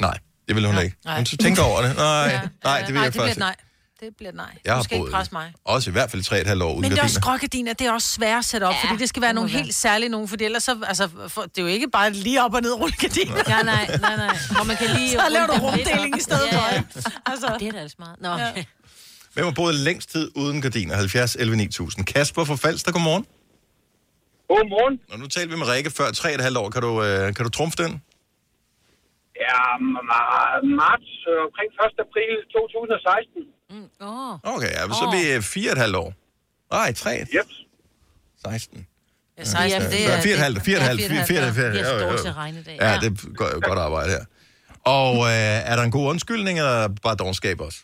Nej, det vil hun da ikke. nej. Hun så tænker over det. Nej, nej, det vil nej, jeg det bliver faktisk et ikke. nej. Det bliver et nej. Jeg du har skal ikke presse mig. boet også i hvert fald 3,5 år uden Men det er også gardiner. skrågardiner, det er også svært at sætte op, ja, fordi det skal være nogle helt særlige nogen, fordi ellers så, altså, for, det er jo ikke bare lige op og ned rullegardiner. Ja. Nej, nej, nej, nej. Og man kan lige... Så laver du runde dem lidt rumdeling op. i stedet Ja, for, ja. ikke? Altså, Det er da altså meget. Nå, okay. Hvem har boet længst tid uden gardiner? 70, 11, 9000. Kasper fra Falster, godmorgen. Godmorgen. Og nu talte vi med Rikke før 3,5 år. Kan du, øh, kan du trumfe den? Ja, ma- marts, øh, omkring 1. april 2016. Åh, Okay, ja, så er vi øh, fire og et halvt år. Nej, tre. Yep. 16. ja, så, ja, det Ja, er... fire og et halvt, fire og et halvt, fire fire og et halvt. jeg Ja, er ja, dårlig ja. til at regne i dag. Ja, det er godt- godt arbejde her. Og øh, er der en god undskyldning, eller bare dogenskab også?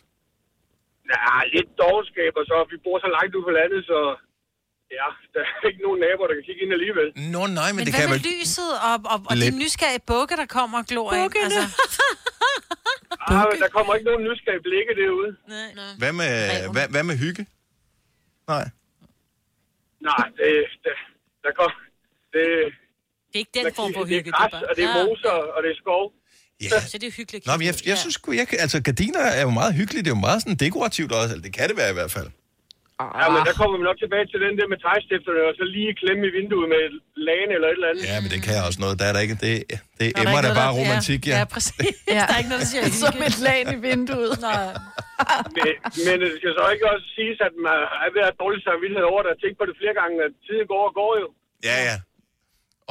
Ja, lidt dogenskab, og så vi bor så langt ude på landet, så ja, der er ikke nogen naboer, der kan kigge ind alligevel. Nå, nej, men, Men det hvad kan med vel... lyset og, og, og Lidt. de nysgerrige bukke, der kommer og glor ind? Altså, Ah, men der kommer ikke nogen nysgerrige blikke derude. Hvad med, hvad, hvad med hygge? Nej. Nej, det, det der kom, det, Det er ikke den der, form for det hygge, er det er græs, bare. og det er Ja. moser, og det er skov. Ja. Så det er hyggeligt. Nå, men jeg, jeg synes sgu, jeg, kan- altså gardiner er jo meget hyggeligt, det er jo meget sådan dekorativt også, eller det kan det være i hvert fald. Ja, men der kommer vi nok tilbage til den der med tegstifterne, og så lige klemme i vinduet med et lagen eller et eller andet. Ja, men det kan jeg også noget, der er der ikke, det, det der emmer ikke der noget, bare romantik, ja. ja. Ja, præcis. Ja. Der er ikke noget, der siger Som et lag i vinduet. Nej. Men, men det skal så ikke også siges, at man er ved at have dårlig samvittighed over det, og tænke på det flere gange, at tiden går og går jo. Ja, ja.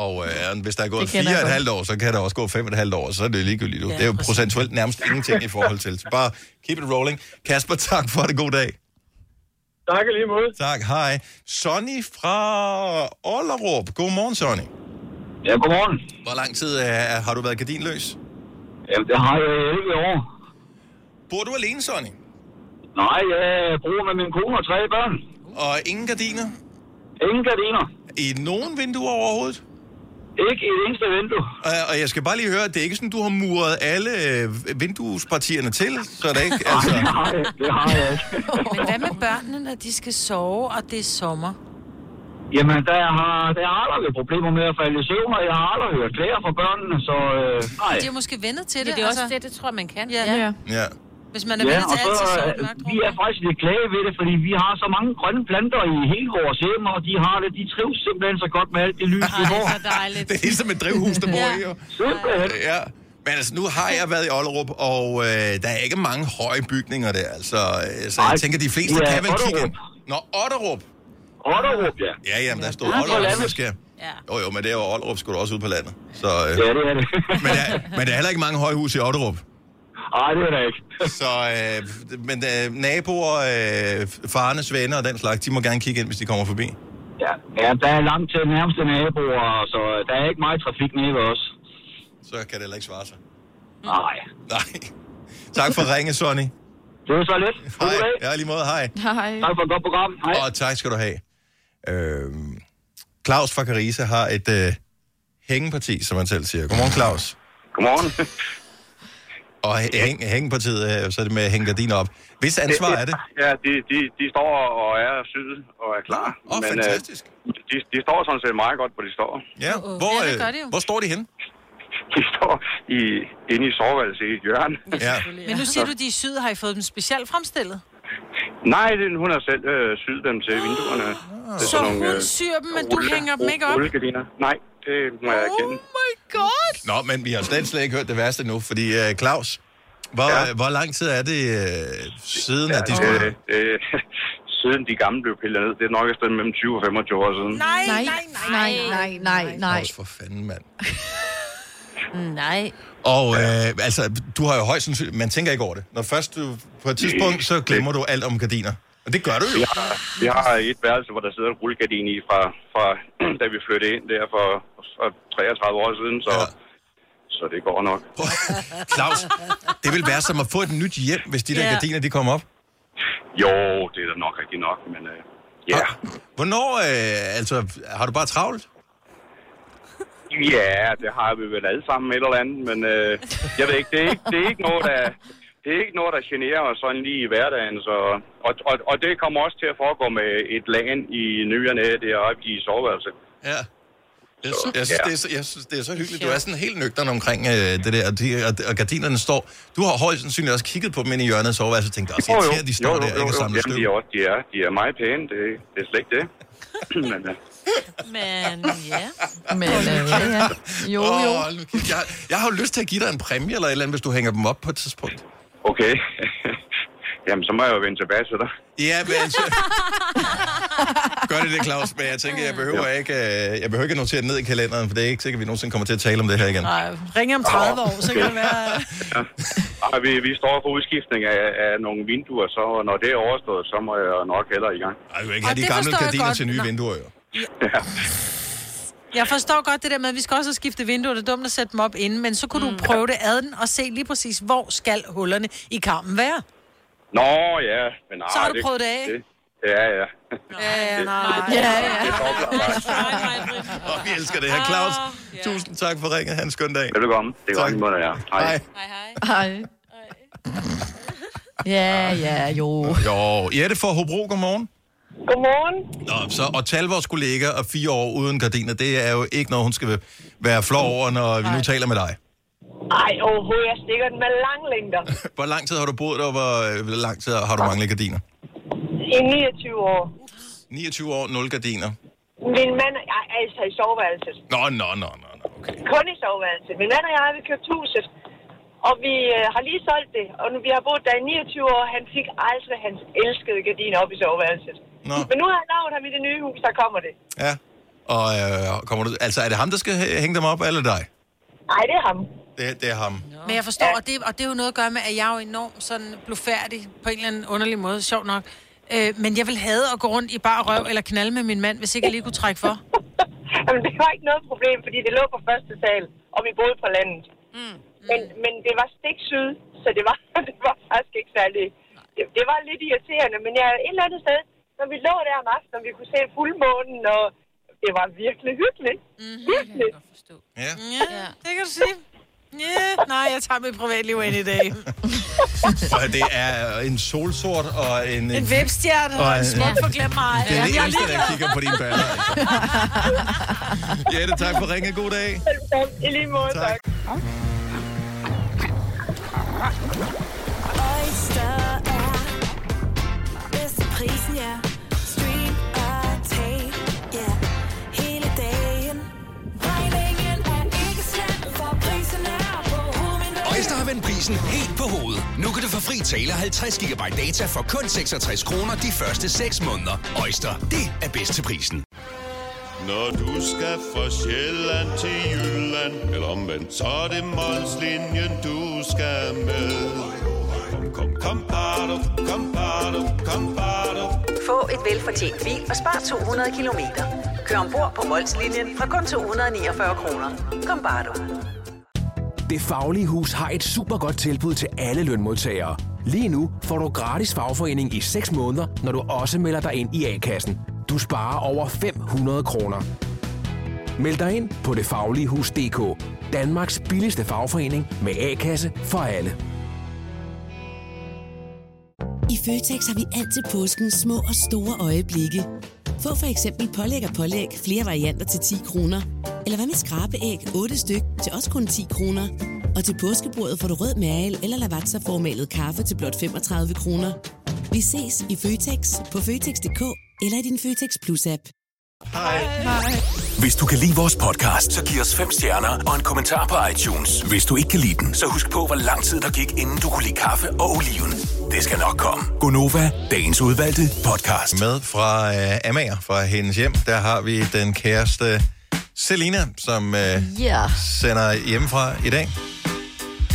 Og øh, hvis der er gået Det fire kender og jeg et godt. halvt år, så kan der også gå fem og et halvt år, så er det jo ligegyldigt. Ja, det er jo præcis. procentuelt nærmest ingenting i forhold til. Så bare keep it rolling. Kasper, tak for det. God dag. Tak i lige måde. Tak, hej. Sonny fra Ollerup. Godmorgen, Sonny. Ja, godmorgen. Hvor lang tid øh, har du været gardinløs? Jamen, det har jeg ikke i år. Bor du alene, Sonny? Nej, jeg bruger med min kone og tre børn. Og ingen gardiner? Ingen gardiner. I nogen vinduer overhovedet? Ikke et eneste vindue. Og, og jeg skal bare lige høre, at det er ikke sådan, du har muret alle øh, vinduespartierne til, så det ikke, altså... Nej, det har jeg ikke. Men hvad med børnene, når de skal sove, og det er sommer? Jamen, der har, der har aldrig problemer med at falde i søvn, og jeg har aldrig hørt klager fra børnene, så øh, nej. De er måske vendet til det, Det er også altså, det, det tror jeg, man kan. Ja. Ja. Ja. hvis man er Ja, vendet og til så altid øh, sove nok. vi er faktisk lidt klage ved det, fordi vi har så mange grønne planter i hele vores hjem, og de har det, de trives simpelthen så godt med alt det lys, vi får. Ej, så dejligt. Det er ligesom et drivhus, der bor i, jo. Simpelthen. Ja, men altså, nu har jeg været i Ollerup, og øh, der er ikke mange høje bygninger der, altså, øh, så Nej, jeg tænker, de fleste det er kan vel kigge ind. Otterup. Nå, Otterup. Otterup, ja. Ja, jamen, der stod på Otterup, landet. så sker. Ja. Jo, jo, men det er jo Ollerup, skulle også ud på landet. Så, øh, Ja, det er det. men, der, men der er heller ikke mange højhus i Otterup. Nej, det er det ikke. Så, øh, men øh, naboer, øh, farnes venner og den slags, de må gerne kigge ind, hvis de kommer forbi. Ja, ja, der er langt til øh, nærmeste naboer, så der er ikke meget trafik nede ved os. Så kan det heller ikke svare sig. Mm. Nej. Nej. Tak for ringe, Sonny. Det var så lidt. Hej. Ja, lige måde. Hej. Hej. for et godt program. Hej. Og tak skal du have. Øhm, Claus fra Carisa har et øh, hængeparti, som han selv siger. Godmorgen, Claus. Godmorgen. Og hæng, hængepartiet, øh, så er det med at hænge gardiner op. Hvis ansvar er det? Ja, de, de, de står og er syet og er klar. Åh, oh, fantastisk. Øh, de, de står sådan set meget godt, hvor de står. Ja, hvor, Ja, det gør øh, det jo. hvor står de henne? De står i, inde i soveværelset i et hjørne. Ja. Men nu siger du, de er syd. Har I fået dem specielt fremstillet? Nej, det, hun har selv øh, syet dem til vinduerne. Det er Så øh, hun syr dem, men du hænger dem ikke op? Rullegardiner. Nej, det må jeg Oh erkende. my god! Nå, men vi har slet, slet ikke hørt det værste nu, fordi øh, Claus, hvor, ja. Ja. hvor lang tid er det øh, siden, at de Øh, skulle... øh, siden de gamle blev pillet ned, det er nok et sted mellem 20 og 25 år siden. Nej, Nej, nej, nej. nej, nej, nej, nej. Claus, for fanden, mand. Nej. Og øh, altså, du har jo højst sandsynligt... Man tænker ikke over det. Når først du på et tidspunkt, så glemmer du alt om gardiner. Og det gør du jo. Vi har, vi har et værelse, hvor der sidder en rullegardin i fra, fra da vi flyttede ind der for, for 33 år siden, så, Ja. ja. så det går nok. Claus, det vil være som at få et nyt hjem, hvis de der Ja. gardiner, de kommer op. Jo, det er da nok rigtigt nok, men øh, ja. Ah, Hvornår, øh, altså, har du bare travlt? øh, Ja, det har vi vel alle sammen et eller andet, men øh, jeg ved ikke, det er ikke, det er ikke noget, der... Det er ikke noget, der generer os sådan lige i hverdagen, så, og, og, og det kommer også til at foregå med et lagen i nyerne deroppe i soveværelset. Ja. Jeg, sy- jeg, synes, Ja. det er så, jeg synes, det er så hyggeligt. Du er sådan helt nøgteren omkring øh, det der, og, de, og, og gardinerne står... Du har højst sandsynligt også kigget på dem ind i hjørnet og soveværelset og tænkt, at Jo, jo. de står Jo, jo, der, jo, ikke og jo. samler Jamen, de støv. er, også, de, er, de er meget pæne, det, det er slet ikke det. Men, øh, Men ja. Men øh, ja, ja. Jo, Åh, jo. hold nu kæft. jeg, jeg har jo lyst til at give dig en præmie eller et eller andet, hvis du hænger dem op på et tidspunkt. okay. Jamen, så må jeg jo vende tilbage til dig. Ja, men altså... Gør det det, Claus, men jeg tænker, jeg behøver, ikke, øh, jeg behøver ikke at notere det ned i kalenderen, for det er ikke sikkert, at vi nogensinde kommer til at tale om det her igen. Nej, ring om 30 år, så kan det være... Ej, vi, vi står for udskiftning af, af nogle vinduer, så når det er overstået, så må jeg nok heller i gang. Ej, du vil ikke Og have de det gamle forstår jeg gardiner godt. til nye Nå. vinduer, jo. Jeg forstår godt det der med, at vi skal også have skiftet vinduer. Det er dumt at sætte dem op inden, men så kunne mm. du prøve det ad den og se lige præcis, hvor skal hullerne i karmen være. Nå, ja. Men, nej, Så har du prøvet det af? ja, ja. Ja, Øh, nej. Ja, ja. Det er Og vi elsker Ah, det her. Claus, tusind tak for ringet. Han skøn dag. Velkommen. Det er Tak. godt, i måned, ja. Hej. Hej. Ja, ja, jo. Jo, Jette fra Hobro, godmorgen. Godmorgen. Nå, så at tale vores kollega og fire år uden gardiner, det er jo ikke noget, hun skal være flov over, når vi nu taler med dig. Ej, overhovedet, jeg stikker den med lang længder. Hvor lang tid har du boet der, og hvor øh, hvor lang tid har du manglet gardiner? I 29 år. 29 år, 0 gardiner. Min mand og jeg, altså i soveværelset. Nå, nå, nå, nå, nå. Okay. Kun i soveværelset. Min mand og jeg, vi købte huset. Og vi øh, har lige solgt det. Og nu, vi har boet der i 29 år. Han fik aldrig hans elskede gardin op i soveværelset. Nå. Men nu har han lavet ham i det nye hus, der kommer det. Ja. Og øh, kommer du, altså, er det ham, der skal hæ- hænge dem op, eller dig? Nej, det er ham. Det, det er ham. Men jeg forstår, og det, og det er jo noget at gøre med, at jeg er jo enormt sådan blufærdig på en eller anden underlig måde, sjov nok. Øh, men jeg vil have at gå rundt i bare røv eller knalde med min mand, hvis ikke jeg lige kunne trække for. Jamen, det var ikke noget problem, fordi det lå på første sal, og vi boede på landet. Mm. Men, men det var stik syd, så det var, det var faktisk ikke særlig... Det, det var lidt irriterende, men jeg et eller andet sted, når vi lå der om aftenen, og vi kunne se fuldmånen, og det var virkelig hyggeligt. Mm-hmm. Virkelig. Ja. Ja, det kan du sige. Ja, nej, jeg tager mit privatliv ind i dag. Og det er en solsort og en... En vipstjerne og en smuk forglem mig. Det er det Jeg eneste, der kigger på dine baller. Altså. Jette, tak for ringet. God dag. I lige måde, tak. Tak. Oyster er bedst til prisen, ja. Stream og tag, ja. Hele dagen. Regningen er ikke slem, for prisen er på Øjster har vendt prisen helt på hovedet. Nu kan du få fri tale 50 GB data for kun 66 kroner de første 6 måneder. Øjster, det er bedst til prisen. Når du skal fra Sjælland til Jylland, eller omvendt, så er det Molslinjen, du skal med. Kom, kom, kom, bado, kom, bado, kom, bado. Få et velfortjent bil og spar 200 kilometer. Kør ombord på Molslinjen fra kun 249 kroner. Kom bare du. Det Faglige Hus har et super godt tilbud til alle lønmodtagere. Lige nu får du gratis fagforening i 6 måneder, når du også melder dig ind i A-kassen. Du sparer over 500 kroner. Meld dig ind på detfagligehus.dk. Danmarks billigste fagforening med A-kasse for alle. I Føtex har vi alt til påsken små og store øjeblikke. Få for eksempel pålæg og pålæg flere varianter til 10 kroner. Eller hvad med skrabeæg 8 styk til også kun 10 kroner. Og til påskebordet får du rød mal eller lavatserformalet kaffe til blot 35 kroner. Vi ses i Føtex på Føtex.dk eller i din Føtex Plus-app. Hej. Hvis du kan lide vores podcast, så giv os fem stjerner og en kommentar på iTunes. Hvis du ikke kan lide den, så husk på, hvor lang tid der gik, inden du kunne lide kaffe og oliven. Det skal nok komme. Gonova, dagens udvalgte podcast. Med fra øh, Amager, fra hendes hjem, der har vi den kæreste Selina, som øh, Yeah. sender hjemmefra i dag.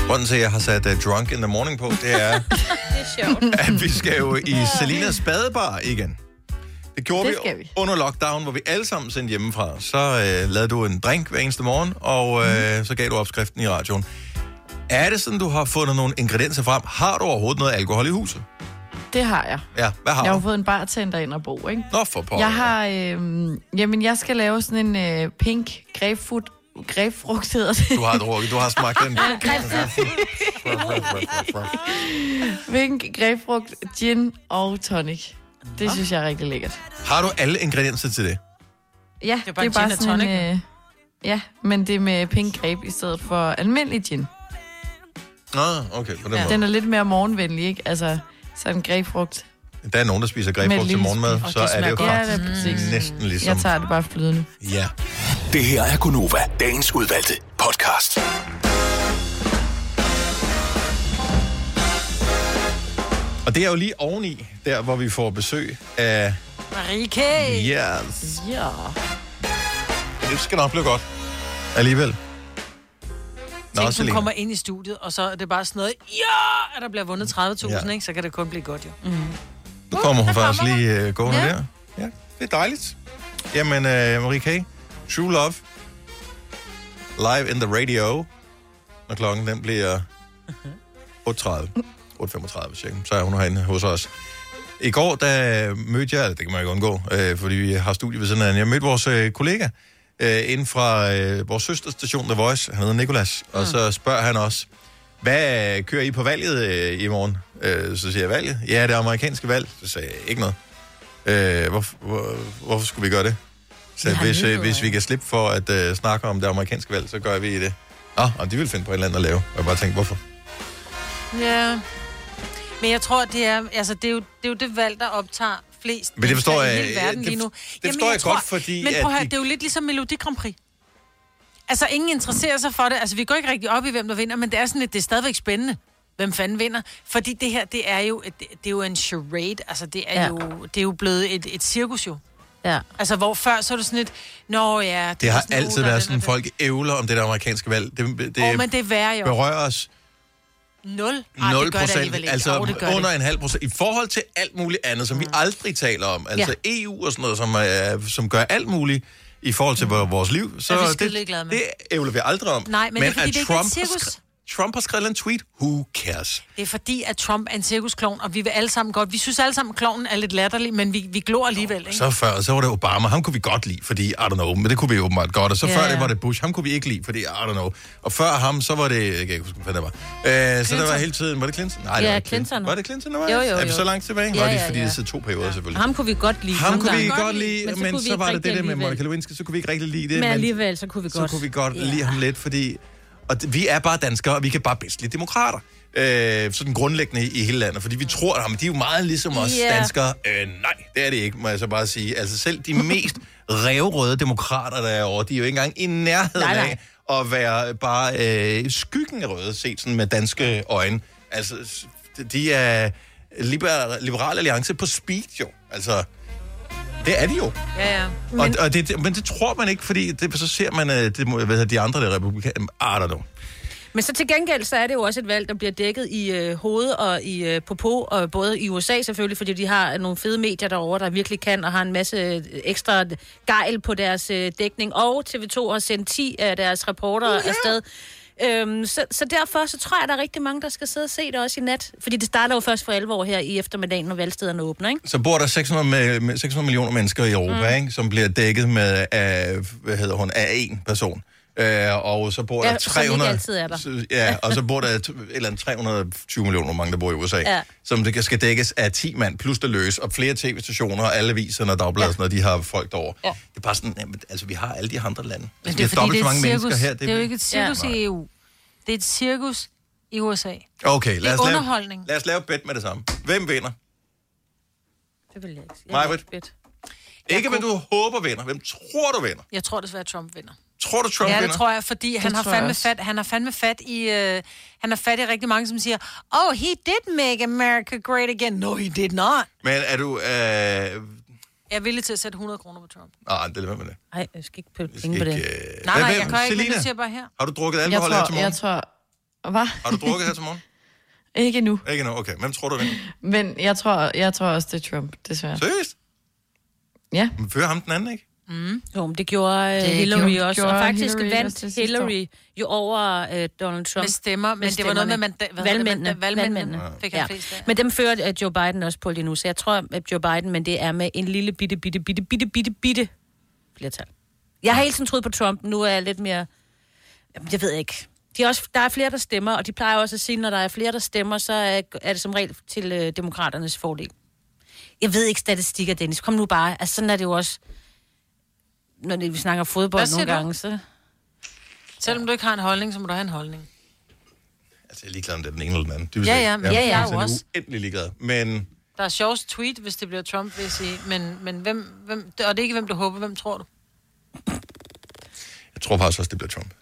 Grunden til, at jeg har sat uh, Drunk in the Morning på, det er, Det er sjovt. at vi skal jo i Selinas badebar igen. Det gjorde Det vi, skal vi. under lockdown, hvor vi alle sammen sendte hjemmefra. Så øh, lavede du en drink hver eneste morgen, og øh, Mhm. så gav du opskriften i radioen. Er det sådan, du har fundet nogle ingredienser frem? Har du overhovedet noget alkohol i huset? Det har jeg. Ja, hvad har jeg har jo du? fået en bartender ind og bo, ikke? Nå, for pokker. Jeg har, øh, jamen jeg skal lave sådan en øh, pink grapefruit, grapefrugt hedder det. Du har drukket, du har smagt den. Ja, grapefruit. er Pink grapefrugt, gin og tonic. Det synes jeg er rigtig lækkert. Har du alle ingredienser til det? Ja, det er bare, en gin og sådan tonic, en, øh, Ja, men det er med pink grape i stedet for almindelig gin. Nå, okay, på den Ja. måde. Den er lidt mere morgenvenlig, ikke? Altså, sådan en grapefrugt. Der er nogen, der spiser med et grebfrugt til lille morgenmad, spil. så Og er det jo smager faktisk godt. Ja, det er præcis. næsten ligesom... Jeg tager det bare flydende. Ja. Det her er Gonova, dagens udvalgte podcast. Og det er jo lige oveni, der hvor vi får besøg af... Marie K. Yes. Ja. Det skal nok blive godt. Alligevel. Nå, Tænk, hun Selina. kommer ind i studiet, og så er det bare sådan noget, ja, at der bliver vundet 30.000, Ja. ja. ikke? Så kan det kun blive godt, jo. Mm. Nu kommer hun faktisk lige øh, gående Ja. der. Ja, det er dejligt. Jamen, øh, Marie K. True Love. Live in the radio. Når klokken den bliver 8.30. 8.35 cirka. Så er hun herinde hos os. I går, der mødte jeg, eller det kan man jo ikke undgå, øh, fordi vi har studie ved siden af, hinanden. jeg mødte vores øh, kollega øh, inden fra øh, vores søsterstation The Voice, han hedder Nikolas, Mm. og så spørger han os, hvad øh, kører I på valget øh, i morgen? Øh, så siger jeg, valget? Ja, det amerikanske valg. Så sagde jeg, ikke noget. Øh, hvor, hvor, hvorfor skulle vi gøre det? Så Vi har hvis, øh, nyheder, hvis vi kan slippe for at øh, snakke om det amerikanske valg, så gør vi det. Nå, og de vil finde på et eller andet at lave. Og jeg bare tænkte, hvorfor? Ja. Men jeg tror, det er, altså, det er, jo, det er jo det valg, der optager flest Men det forstår mennesker i jeg- hele verden det- lige nu. det forstår jeg godt, fordi Men at prøv at høre, de- det er jo lidt ligesom Melodi Grand Prix. Altså, ingen interesserer sig for det. Altså, vi går ikke rigtig op i, hvem der vinder, men det er sådan lidt, det er stadigvæk spændende, hvem fanden vinder. Fordi det her, det er jo, et- det, det er jo en charade. Altså, det er, Ja. ja. jo, det er jo blevet et, et cirkus jo. Ja. Altså, hvor før så er det sådan lidt, nå ja... Det var har sådan, altid uh, der er været den sådan, og folk ævler om det der amerikanske valg. Det, det, Åh, men det er værre jo. berører os den. Nul. Ej, 0 det gør det alligevel procent, ikke. altså Jo, det Mm. gør under det. en halv procent. I forhold til alt muligt andet, som vi aldrig taler om, altså EU og sådan noget, som, øh, som gør alt muligt i forhold til vor- vores liv, så Er Mm. vi skide det, ligeglade med. det ævler vi aldrig om. Nej, men det er fordi, det ikke er et Trump, har cirkus. skre- Trump har skrevet en tweet, who cares? Det er fordi, at Trump er en cirkusklon, og vi vil alle sammen godt... Vi synes alle sammen, at klonen er lidt latterlig, men vi, vi glor alligevel, ikke? Så før, så var det Obama, ham kunne vi godt lide, fordi, I don't know, men det kunne vi åbenbart godt. Og så Ja, yeah. før ja. det var det Bush, ham kunne vi ikke lide, fordi, I don't know. Og før ham, så var det, jeg kan ikke huske, hvad det var. Øh, så der var Clinton. hele tiden, var det Clinton? Nej, det var Ja, ikke Clinton. Var det Clinton, der var? Jo, jo, jo. Er vi så langt tilbage? Ja, Nå, det ja, er fordi, ja. det er to perioder selvfølgelig. Og ham kunne vi godt lide. Ham nogle kunne vi gange. godt lide, men, men kunne vi så, ikke var det rigtig det der med alligevel. Monica Lewinsky, så kunne vi ikke rigtig lide det. Men alligevel, så kunne vi godt. Så kunne vi godt lide ham lidt, fordi... Og det- vi er bare danskere, og vi kan bare bedst lide demokrater. Øh, sådan grundlæggende i, i hele landet, fordi vi tror, at jamen, de er jo meget ligesom os Ja. yeah. danskere. Øh, nej, det er det ikke, må jeg så bare sige. Altså selv de mest revrøde demokrater, der er over, de er jo ikke engang i nærheden Nej, nej. af at være bare øh, skyggen af røde, set sådan med danske øjne. Altså, s- de er liberal, liberal alliance på speed, jo. Altså, det er de jo. Ja, ja. Men... Og, og det, men det tror man ikke, fordi det, så ser man øh, det, må- hvad hedder, de andre der republikanere. Ah, der Men så til gengæld, så er det jo også et valg, der bliver dækket i øh, hoved og i øh, popo, og både i USA selvfølgelig, fordi de har nogle fede medier derovre, der virkelig kan, og har en masse øh, ekstra gejl på deres øh, dækning, og TV2 har sendt 10 af deres reportere uh, afsted Øhm, så, så derfor så tror jeg, der er rigtig mange, der skal sidde og se det også i nat. Fordi det starter jo først for alvor her i eftermiddagen, når valgstederne åbner, ikke? Så bor der 600, med, med 600 millioner mennesker i Europa, Mm. mm. ikke, som bliver dækket med af, hvad hedder hun, af én person. Øh, og så bor Ja, der som ikke 300... altid er der. s- Ja, og så bor der et, et eller andet 320 millioner, hvor mange der bor i USA, Ja. ja. som det skal dækkes af 10 mand, plus det løs, og flere tv-stationer, og alle aviserne og dagbladene, når de har folk derovre. Ja. Det er bare sådan, jamen, altså vi har alle de andre lande. Men Altså, det er, vi har fordi det er, så et cirkus. mennesker Her, det, det er jo ikke et cirkus ja. Nej. i EU. Det er et cirkus i USA. Okay, det lad er os, lave, underholdning. lad os lave et bet med det samme. Hvem vinder? Det vil jeg ikke. Mig, Ikke hvem du håber vinder. Hvem tror du vinder? Jeg tror desværre, at Trump vinder. Tror du, Trump ja, vinder? det tror jeg, fordi Det han har, tror jeg fandme også. fat, han har fandme fat i... Øh, han har fat i rigtig mange, som siger, Oh, he did make America great again. No, he did not. Men er du... Øh... Jeg er villig til at sætte 100 kroner på Trump. Nej, det er lidt med det. Nej, jeg skal ikke pølle penge på det. Øh... Nej, nej, Hvad- jeg hvem? kan ikke, men Selina, du siger bare her. Har du drukket Jeg alkohol her til tror, morgen? jeg tror... Hvad? Har du drukket her til morgen? Ikke nu. Ikke nu, okay. Hvem tror du vinder? Men jeg tror, jeg tror også, det er Trump, desværre. Seriøst? Ja. Men fører ham den anden, ikke? Mm. Jo, men det gjorde det Det Hillary gjorde- også. gjorde og faktisk Hillary Hillary også vandt til sidste Hillary jo over øh, Donald Trump. Med stemmer, men det var noget med manda- hvad hedder det, valgmændene. manda- valgmændene. Fik han ja. flest af. Men dem fører øh, Joe Biden også på lige nu, så jeg tror, at Joe Biden, men det er med en lille bitte, bitte, bitte, bitte, bitte, bitte flertal. Jeg har hele tiden troet på Trump, nu er jeg lidt mere... Jamen, jeg ved ikke. De er også, der er flere, der stemmer, og de plejer også at sige, når der er flere, der stemmer, så er, er det som regel til øh, demokraternes fordel. Jeg ved ikke statistikker, Dennis. Kom nu bare. Altså, sådan er det jo også, når det- vi snakker Hvad fodbold siger nogle du? gange. Så... Selvom du ikke har en holdning, så må du have en holdning. Altså, jeg er ligeglad om det er den ene eller den anden. Det vil Ja, sige, ja, jeg er ja, ja, fuldstændig jeg er jo også. uendelig ligeglad. Men Der er sjovest tweet, hvis det bliver Trump, vil jeg sige. Men, men hvem, hvem, og det er ikke, hvem du håber, hvem tror du? jeg tror faktisk også, det bliver Trump.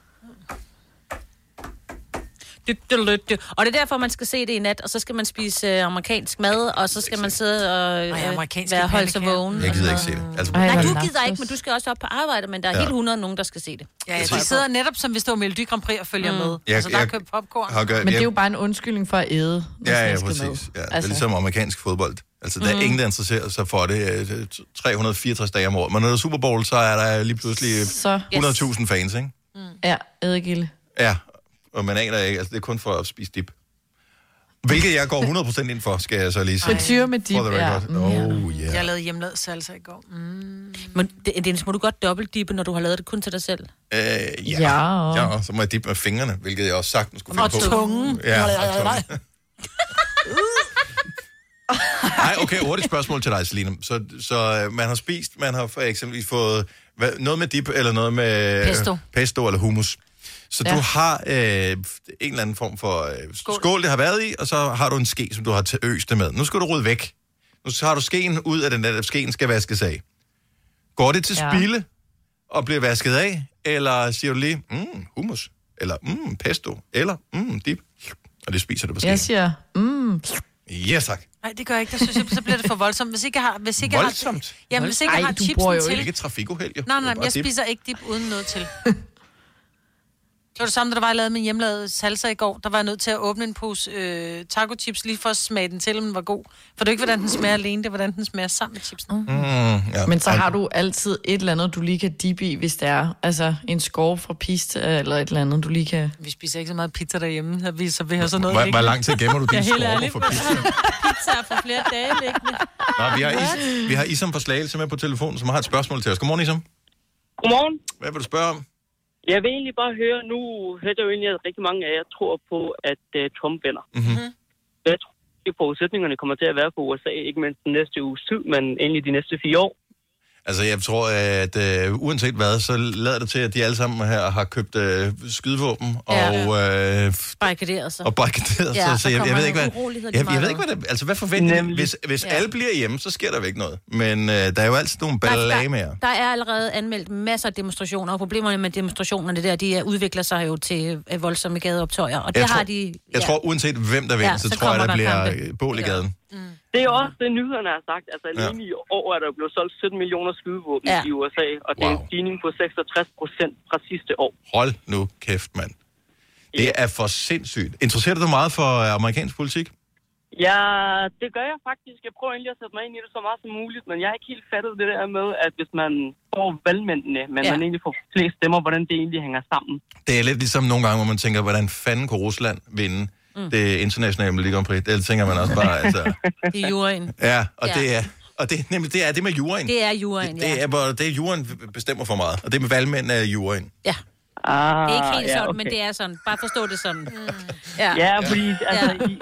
Dyt, dyt, dyt, dyt. Og det er derfor, man skal se det i nat, og så skal man spise øh, amerikansk mad, og så skal man sidde og øh, Ej, amerikanske være holdt sig pandekager. vågen. Jeg og gider sådan ikke se det. Altså, noget. Nej, jeg, du gider ikke, men du skal også op på arbejde, men der er Ja. helt 100 nogen, der skal se det. Ja, Jeg jeg tror- de sidder netop som hvis det var Melodi Grand Prix og følger mm. med. Jeg- altså, der er jeg- købt popcorn. har gør- Men det er jeg- jo bare en undskyldning for at æde. når Ja, sådan ja, noget skal med. præcis. Ja, altså. Det er ligesom amerikansk fodbold. Altså, der er Mhm. ingen, der interesserer sig for det øh, 364 dage om året. Men når der er Super Bowl, så er der lige pludselig øh, Så- 100.000 fans, ikke? Ja, ædegilde. Ja, og man aner ikke. Altså, det er kun for at spise dip. Hvilket jeg går 100% ind for, skal jeg så lige sige. Frityre med dip, For the record. ja. Mm, Oh, Yeah. Jeg yeah. lavede hjemmelavet salsa i går. Mm. Men det, Dennis, må du godt dobbeltdippe, når du har lavet det kun til dig selv. Øh, ja. Mm. Ja. ja. så må jeg dippe med fingrene, hvilket jeg også sagtens skulle finde Og på. tungen. Ja, og tungen. Nej, okay, hurtigt spørgsmål til dig, Selina. Så, så øh, man har spist, man har for eksempel fået hvad, noget med dip, eller noget med... øh, Pesto. Pesto eller hummus. Så Ja. ja. du har øh, en eller anden form for øh, skål. skål, det har været i, og så har du en ske, som du har til øst det med. Nu skal du rydde væk. Nu har du skeen ud af den der, skeen skal vaskes af. Går det til Ja. ja. spilde og bliver vasket af, eller siger du lige, mm, hummus, eller mm, pesto, eller mm, dip, og det spiser du på skeen. Jeg siger, mm. Ja, tak. Nej, det gør jeg ikke. Der synes jeg, så bliver det for voldsomt. Hvis ikke jeg har, hvis ikke jeg Voldsomt? Har, jamen, hvis ikke jeg har du chipsen til... ikke et trafikuheld, Nej, jo. Det nej, er nej, bare jeg dip. spiser ikke dip uden noget til. Det var det samme, da der var, jeg lavede min hjemmelavede salsa i går. Der var jeg nødt til at åbne en pose øh, taco chips lige for at smage den til, om den var god. For det er jo ikke, hvordan den smager alene, det er, hvordan den smager sammen med chipsen. Mm. Mm, ja. Men så har du altid et eller andet, du lige kan dippe i, hvis det er. Altså en skov fra piste eller et eller andet, du lige kan... Vi spiser ikke så meget pizza derhjemme, så vi, så vi har sådan noget Hvor- hvor liggende. lang tid gemmer du dine Ja, helt skorper ærligt. for pizza? Pizza for flere dage liggende. Nå, vi, har Is, vi har Isam fra Slagelse med på telefonen, som har et spørgsmål til os. Godmorgen, Isam. Godmorgen. Hvad vil du spørge om? Jeg vil egentlig bare høre, nu hørte jeg jo egentlig, at rigtig mange af jer tror på, at uh, Trump vinder. Mm-hmm. Hvad tror I, forudsætningerne kommer til at være for USA, ikke mindst den næste uges tid, men egentlig de næste fire år? Altså, jeg tror, at øh, uanset hvad, så lader det til, at de alle sammen her har købt øh, skydevåben og, ja. øh, f- Barrikaderet sig. og barrikaderet Ja, sig. så Så jeg, jeg kommer ved ikke, hvad, uroligheder, de jeg, jeg meget ved ikke, hvad det, altså, hvad forventer de? Hvis, hvis Ja. ja. alle bliver hjemme, så sker der jo ikke noget. Men øh, der er jo altid nogle ballamager. Der er allerede anmeldt masser af demonstrationer, og problemerne med demonstrationerne der, de øh, udvikler sig jo til øh, voldsomme gadeoptøjer, og det Jeg har tror- de... Jeg tror, uanset hvem der vinder, Ja, så, så tror jeg, kommer der der bliver kampe. øh, bål i gaden. Det er jo også det, nyhederne har sagt. Altså alene i år er der blevet solgt 17 millioner skydevåben Ja. ja. i USA, og det er en Wow. stigning på 66 procent fra sidste år. Hold nu kæft, mand. Det er for sindssygt. Interesserer du dig meget for øh, amerikansk politik? Ja, det gør jeg faktisk. Jeg prøver egentlig at sætte mig ind i det så meget som muligt, men jeg har ikke helt fattet det der med, at hvis man får valgmændene, men ja. man egentlig får flest stemmer, hvordan det egentlig hænger sammen. Det er lidt ligesom nogle gange, hvor man tænker, hvordan fanden kunne Rusland vinde mm. det internationale Melodi Grand Prix? Det tænker man også bare, altså... Det er juraen. Ja, og Ja. ja. det er... Og det, er nemlig, det er det med juryen. Det er juraen, det, det ja. er, hvor- det er juryen bestemmer for meget. Og det med valgmænd er juryen. Ja. Ah, Det er ikke helt sådan, men det er sådan. Bare forstå det sådan. Ja, ja fordi altså, i,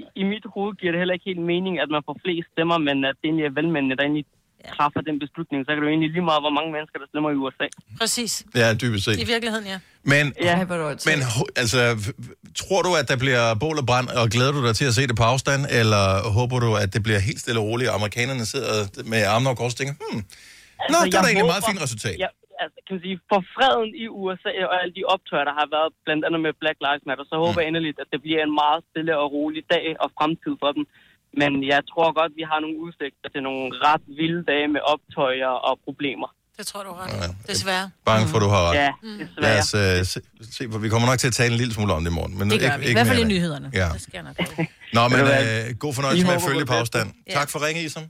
i, i mit hoved giver det heller ikke helt mening, at man får flest stemmer, men at det egentlig er valgmændene, der egentlig træffer den beslutning, så kan det jo egentlig lige meget, hvor mange mennesker, der stemmer i USA. Præcis. Ja, dybest set. I virkeligheden, ja. Men, Ja. men ho- altså, f- tror du, at der bliver bål og brand, og glæder du dig til at se det på afstand, eller håber du, at det bliver helt stille og roligt, og amerikanerne sidder med armene over kors og tænker, hmm, Nå, det er da egentlig meget fint resultat. Altså, Ja, altså, kan man sige, for freden i USA og alle de optøjer, der har været, blandt andet med Black Lives Matter, så Mm. håber jeg endeligt, at det bliver en meget stille og rolig dag og fremtid for dem. Men jeg tror godt, vi har nogle udsigter til nogle ret vilde dage med optøjer og problemer. Det tror du er ret. i. Desværre. bange for, at du har ret. Mm. Ja, Lad desværre. os øh, se, se, for vi kommer nok til at tale en lille smule om det i morgen. Men Det gør ikke, vi. ikke I hvert fald i mere end det. nyhederne. Ja. Det sker nok. Nå, men Ved du hvad? øh, god fornøjelse I med at håber følge på på det afstand. Tak for ringe, Isam.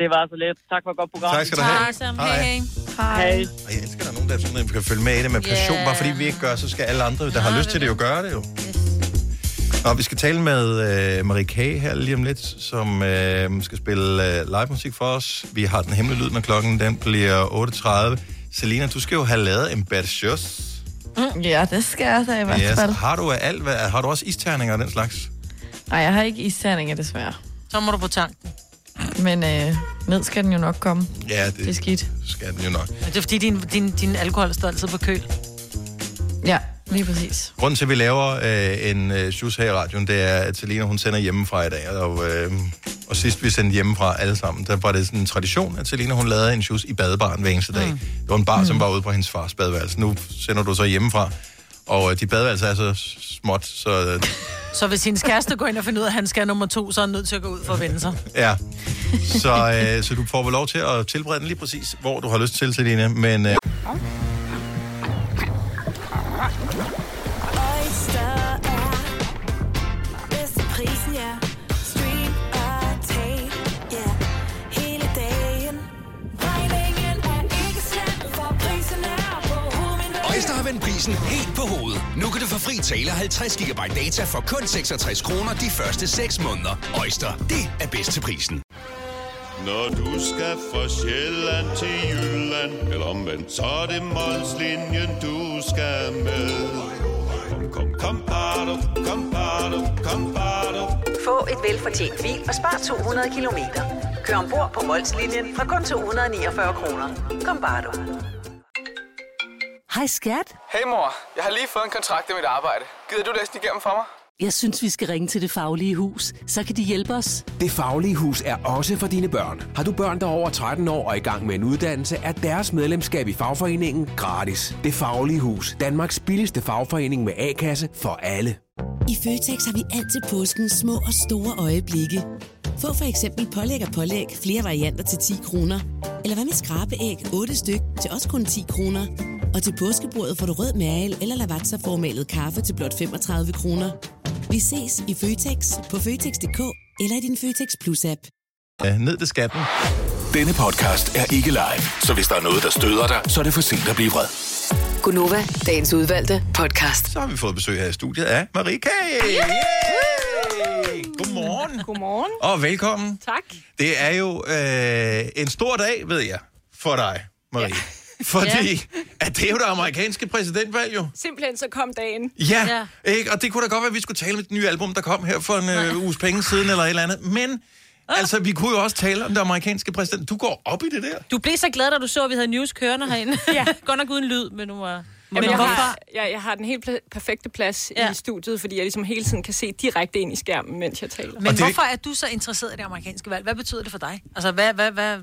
Det var så let. Tak for et godt program. Tak skal du have. Tak, Sam. Hej. Hej. Hej. Hej. Og jeg elsker, at der er nogen, der sådan, kan følge med i det med passion. Ja. Bare fordi vi ikke gør, så skal alle andre, der har lyst til det, jo gøre det jo. Nå, vi skal tale med øh, Marie K. her lige om lidt, som øh, skal spille øh, live musik for os. Vi har den hemmelige lyd, når klokken den bliver 8.30. Selina, du skal jo have lavet en bad shows. Mm, ja, det skal jeg da i hvert Yes. fald. Har du af alt? Hvad, har du også isterninger og den slags? Nej, jeg har ikke isterninger, desværre. Så må du på tanken. Men øh, ned skal den jo nok komme. Ja, det, det er skidt. skal den jo nok. Men Det er fordi, din, din, din alkohol står altid på køl. Ja, lige præcis. Grunden til, at vi laver øh, en øh, shoes her i radioen, det er, at Selina, hun sender hjemmefra i dag. Og, øh, og sidst vi sendte hjemmefra alle sammen, der var det sådan en tradition, at Selina, hun lavede en shoes i badebaren hver eneste dag. Mm. Det var en bar, mm. som var ude på hendes fars badeværelse. Nu sender du så hjemmefra, og øh, de badeværelser er så småt, så øh, Så hvis hendes kæreste går ind og finder ud af, at han skal have nummer to, så er han nødt til at gå ud for at vende sig. ja. Så, øh, så du får vel lov til at tilberede den lige præcis, hvor du har lyst til, Selina. Men øh, Oyster er bedst til prisen, ja. Stream og tag, ja. Hele dagen. Regningen er ikke slem, for prisen er på Øjster har vendt prisen helt på hovedet. Nu kan du få fri tale og 50 GB data for kun 66 kroner de første 6 måneder. Øjster, det er bedst til prisen. Når du skal fra Sjælland til Jylland, eller omvendt, så er det Molslinjen, du skal med. Kom, kom, kom, bado, kom, bado, kom, bado. Få et velfortjent bil og spar 200 kilometer. Kør ombord på Molslinjen fra kun 249 kroner. Kom bare du. Hej skat. Hey mor, jeg har lige fået en kontrakt i mit arbejde. Gider du læse den igennem for mig? Jeg synes, vi skal ringe til Det Faglige Hus. Så kan de hjælpe os. Det Faglige Hus er også for dine børn. Har du børn, der er over 13 år og i gang med en uddannelse, er deres medlemskab i fagforeningen gratis. Det Faglige Hus. Danmarks billigste fagforening med A-kasse for alle. I Føtex har vi altid påskens små og store øjeblikke. Få for eksempel pålæg og pålæg flere varianter til 10 kroner. Eller hvad med skrabeæg 8 styk til også kun 10 kroner. Og til påskebordet får du rød mal eller lavatserformalet kaffe til blot 35 kroner. Vi ses i Føtex på Føtex.dk eller i din Føtex Plus-app. øh, ned til skatten. Denne podcast er ikke live, så hvis der er noget, der støder dig, så er det for sent at blive vred. Gunova, dagens udvalgte podcast. Så har vi fået besøg her i studiet af Marie K. Yay! Godmorgen. Godmorgen. Og velkommen. Tak. Det er jo øh, en stor dag, ved jeg, for dig, Marie. Ja. Fordi ja. at det er jo det amerikanske præsidentvalg, jo. Simpelthen så kom dagen. Ja, ja. Ikke? og det kunne da godt være, at vi skulle tale om det nye album, der kom her for en øh, uges penge siden, eller et eller andet. Men, altså, vi kunne jo også tale om det amerikanske præsident. Du går op i det der. Du blev så glad, da du så, at vi havde news kørende herinde. ja. Godt nok uden lyd, men nu var... Jamen, jeg, har, jeg, jeg har den helt pla- perfekte plads ja. i studiet, fordi jeg ligesom hele tiden kan se direkte ind i skærmen, mens jeg taler. Men hvorfor er du så interesseret i det amerikanske valg? Hvad betyder det for dig? Altså, hvad, hvad, hvad?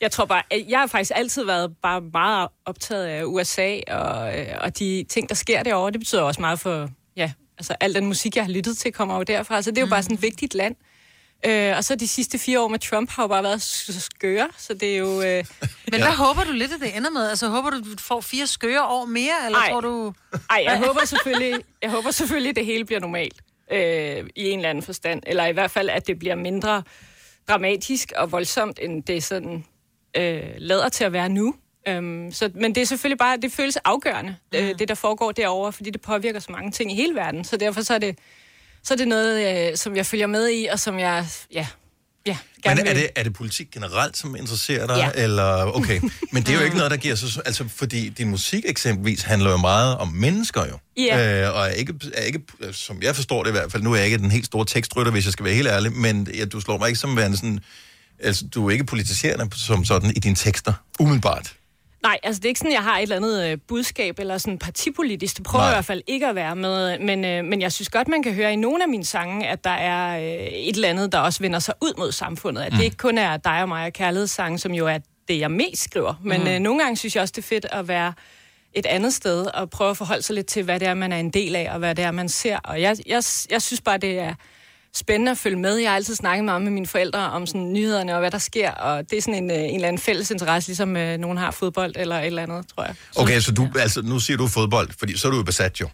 Jeg tror bare, at jeg har faktisk altid været bare meget optaget af USA, og, øh, og de ting, der sker derovre, det betyder også meget for, ja, altså al den musik, jeg har lyttet til, kommer jo derfra, så det er jo Mm. bare sådan et vigtigt land. Øh, og så de sidste fire år med Trump har jo bare været så skøre, så det er jo... Øh, Men ja. hvad håber du lidt, at det ender med? Altså, håber du, du får fire skøre år mere, eller Ej. tror du... Ej, jeg håber selvfølgelig, jeg håber selvfølgelig, at det hele bliver normalt. øh, i en eller anden forstand. Eller i hvert fald, at det bliver mindre dramatisk og voldsomt, end det sådan øh, lader til at være nu. Øhm, så, men det er selvfølgelig bare, det føles afgørende, øh, Mm. det der foregår derovre, fordi det påvirker så mange ting i hele verden. Så derfor så er det, så er det noget, øh, som jeg følger med i, og som jeg, ja, ja gerne Men er vil- det, er det politik generelt, som interesserer dig? Ja. Ja. Eller, okay. Men det er jo ikke noget, der giver så... Altså, fordi din musik eksempelvis handler jo meget om mennesker jo. Ja. Øh, og er ikke, er ikke, som jeg forstår det i hvert fald, nu er jeg ikke den helt store tekstrytter, hvis jeg skal være helt ærlig, men ja, du slår mig ikke som værende sådan... Altså, du er ikke politiserende som sådan i dine tekster, umiddelbart. Nej, altså det er ikke sådan, jeg har et eller andet øh, budskab eller sådan partipolitisk. Det prøver Nej. jeg i hvert fald ikke at være med. Men, øh, men jeg synes godt, man kan høre i nogle af mine sange, at der er øh, et eller andet, der også vender sig ud mod samfundet. At mm. Mm. det ikke kun er dig og mig og kærlighedssange, som jo er det, jeg mest skriver. Men Mm. mm. øh, nogle gange synes jeg også, det er fedt at være et andet sted og prøve at forholde sig lidt til, hvad det er, man er en del af, og hvad det er, man ser. Og jeg, jeg, jeg synes bare, det er spændende at følge med. Jeg har altid snakket meget med mine forældre om sådan, nyhederne og hvad der sker, og det er sådan en, øh, en eller anden fælles interesse, ligesom øh, nogen har fodbold eller et eller andet, tror jeg. Okay, så du, altså, nu siger du fodbold, fordi så er du jo besat jo.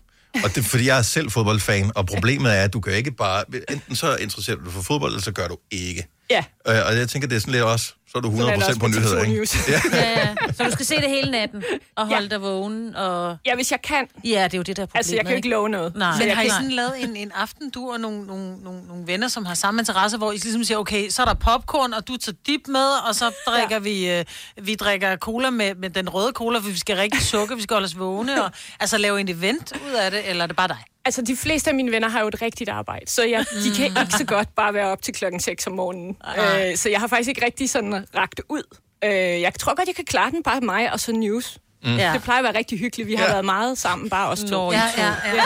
Og det, er, fordi jeg er selv fodboldfan, og problemet er, at du kan jo ikke bare... Enten så interesserer du dig for fodbold, eller så gør du ikke. Ja. Øh, og jeg tænker, det er sådan lidt også... Så er du 100% Sådan er det også på på nyheder, TV2 ikke? News. Ja. Ja, ja. Så du skal se det hele natten og holde ja. dig vågen. Og... Ja, hvis jeg kan. Ja, det er jo det, der er problemet. Altså, jeg kan jo ikke love noget. Nej. Men har I sådan lavet en, en aften, du og nogle, nogle, nogle, nogle venner, som har samme interesse, hvor I ligesom siger, okay, så er der popcorn, og du tager dip med, og så drikker ja. vi, øh, vi drikker cola med, med den røde cola, for vi skal rigtig sukke, vi skal holde os vågne, og altså lave en event ud af det, eller er det bare dig? Altså, de fleste af mine venner har jo et rigtigt arbejde, så jeg, de kan ikke så godt bare være op til klokken 6 om morgenen. Nej. Øh, så jeg har faktisk ikke rigtig sådan ragt ud. Øh, jeg tror godt, jeg kan klare den bare mig og så news. Mm. Mm. Ja. Det plejer at være rigtig hyggeligt. Vi har ja. været meget sammen, bare os to. Nå, I Ja, to. ja, ja.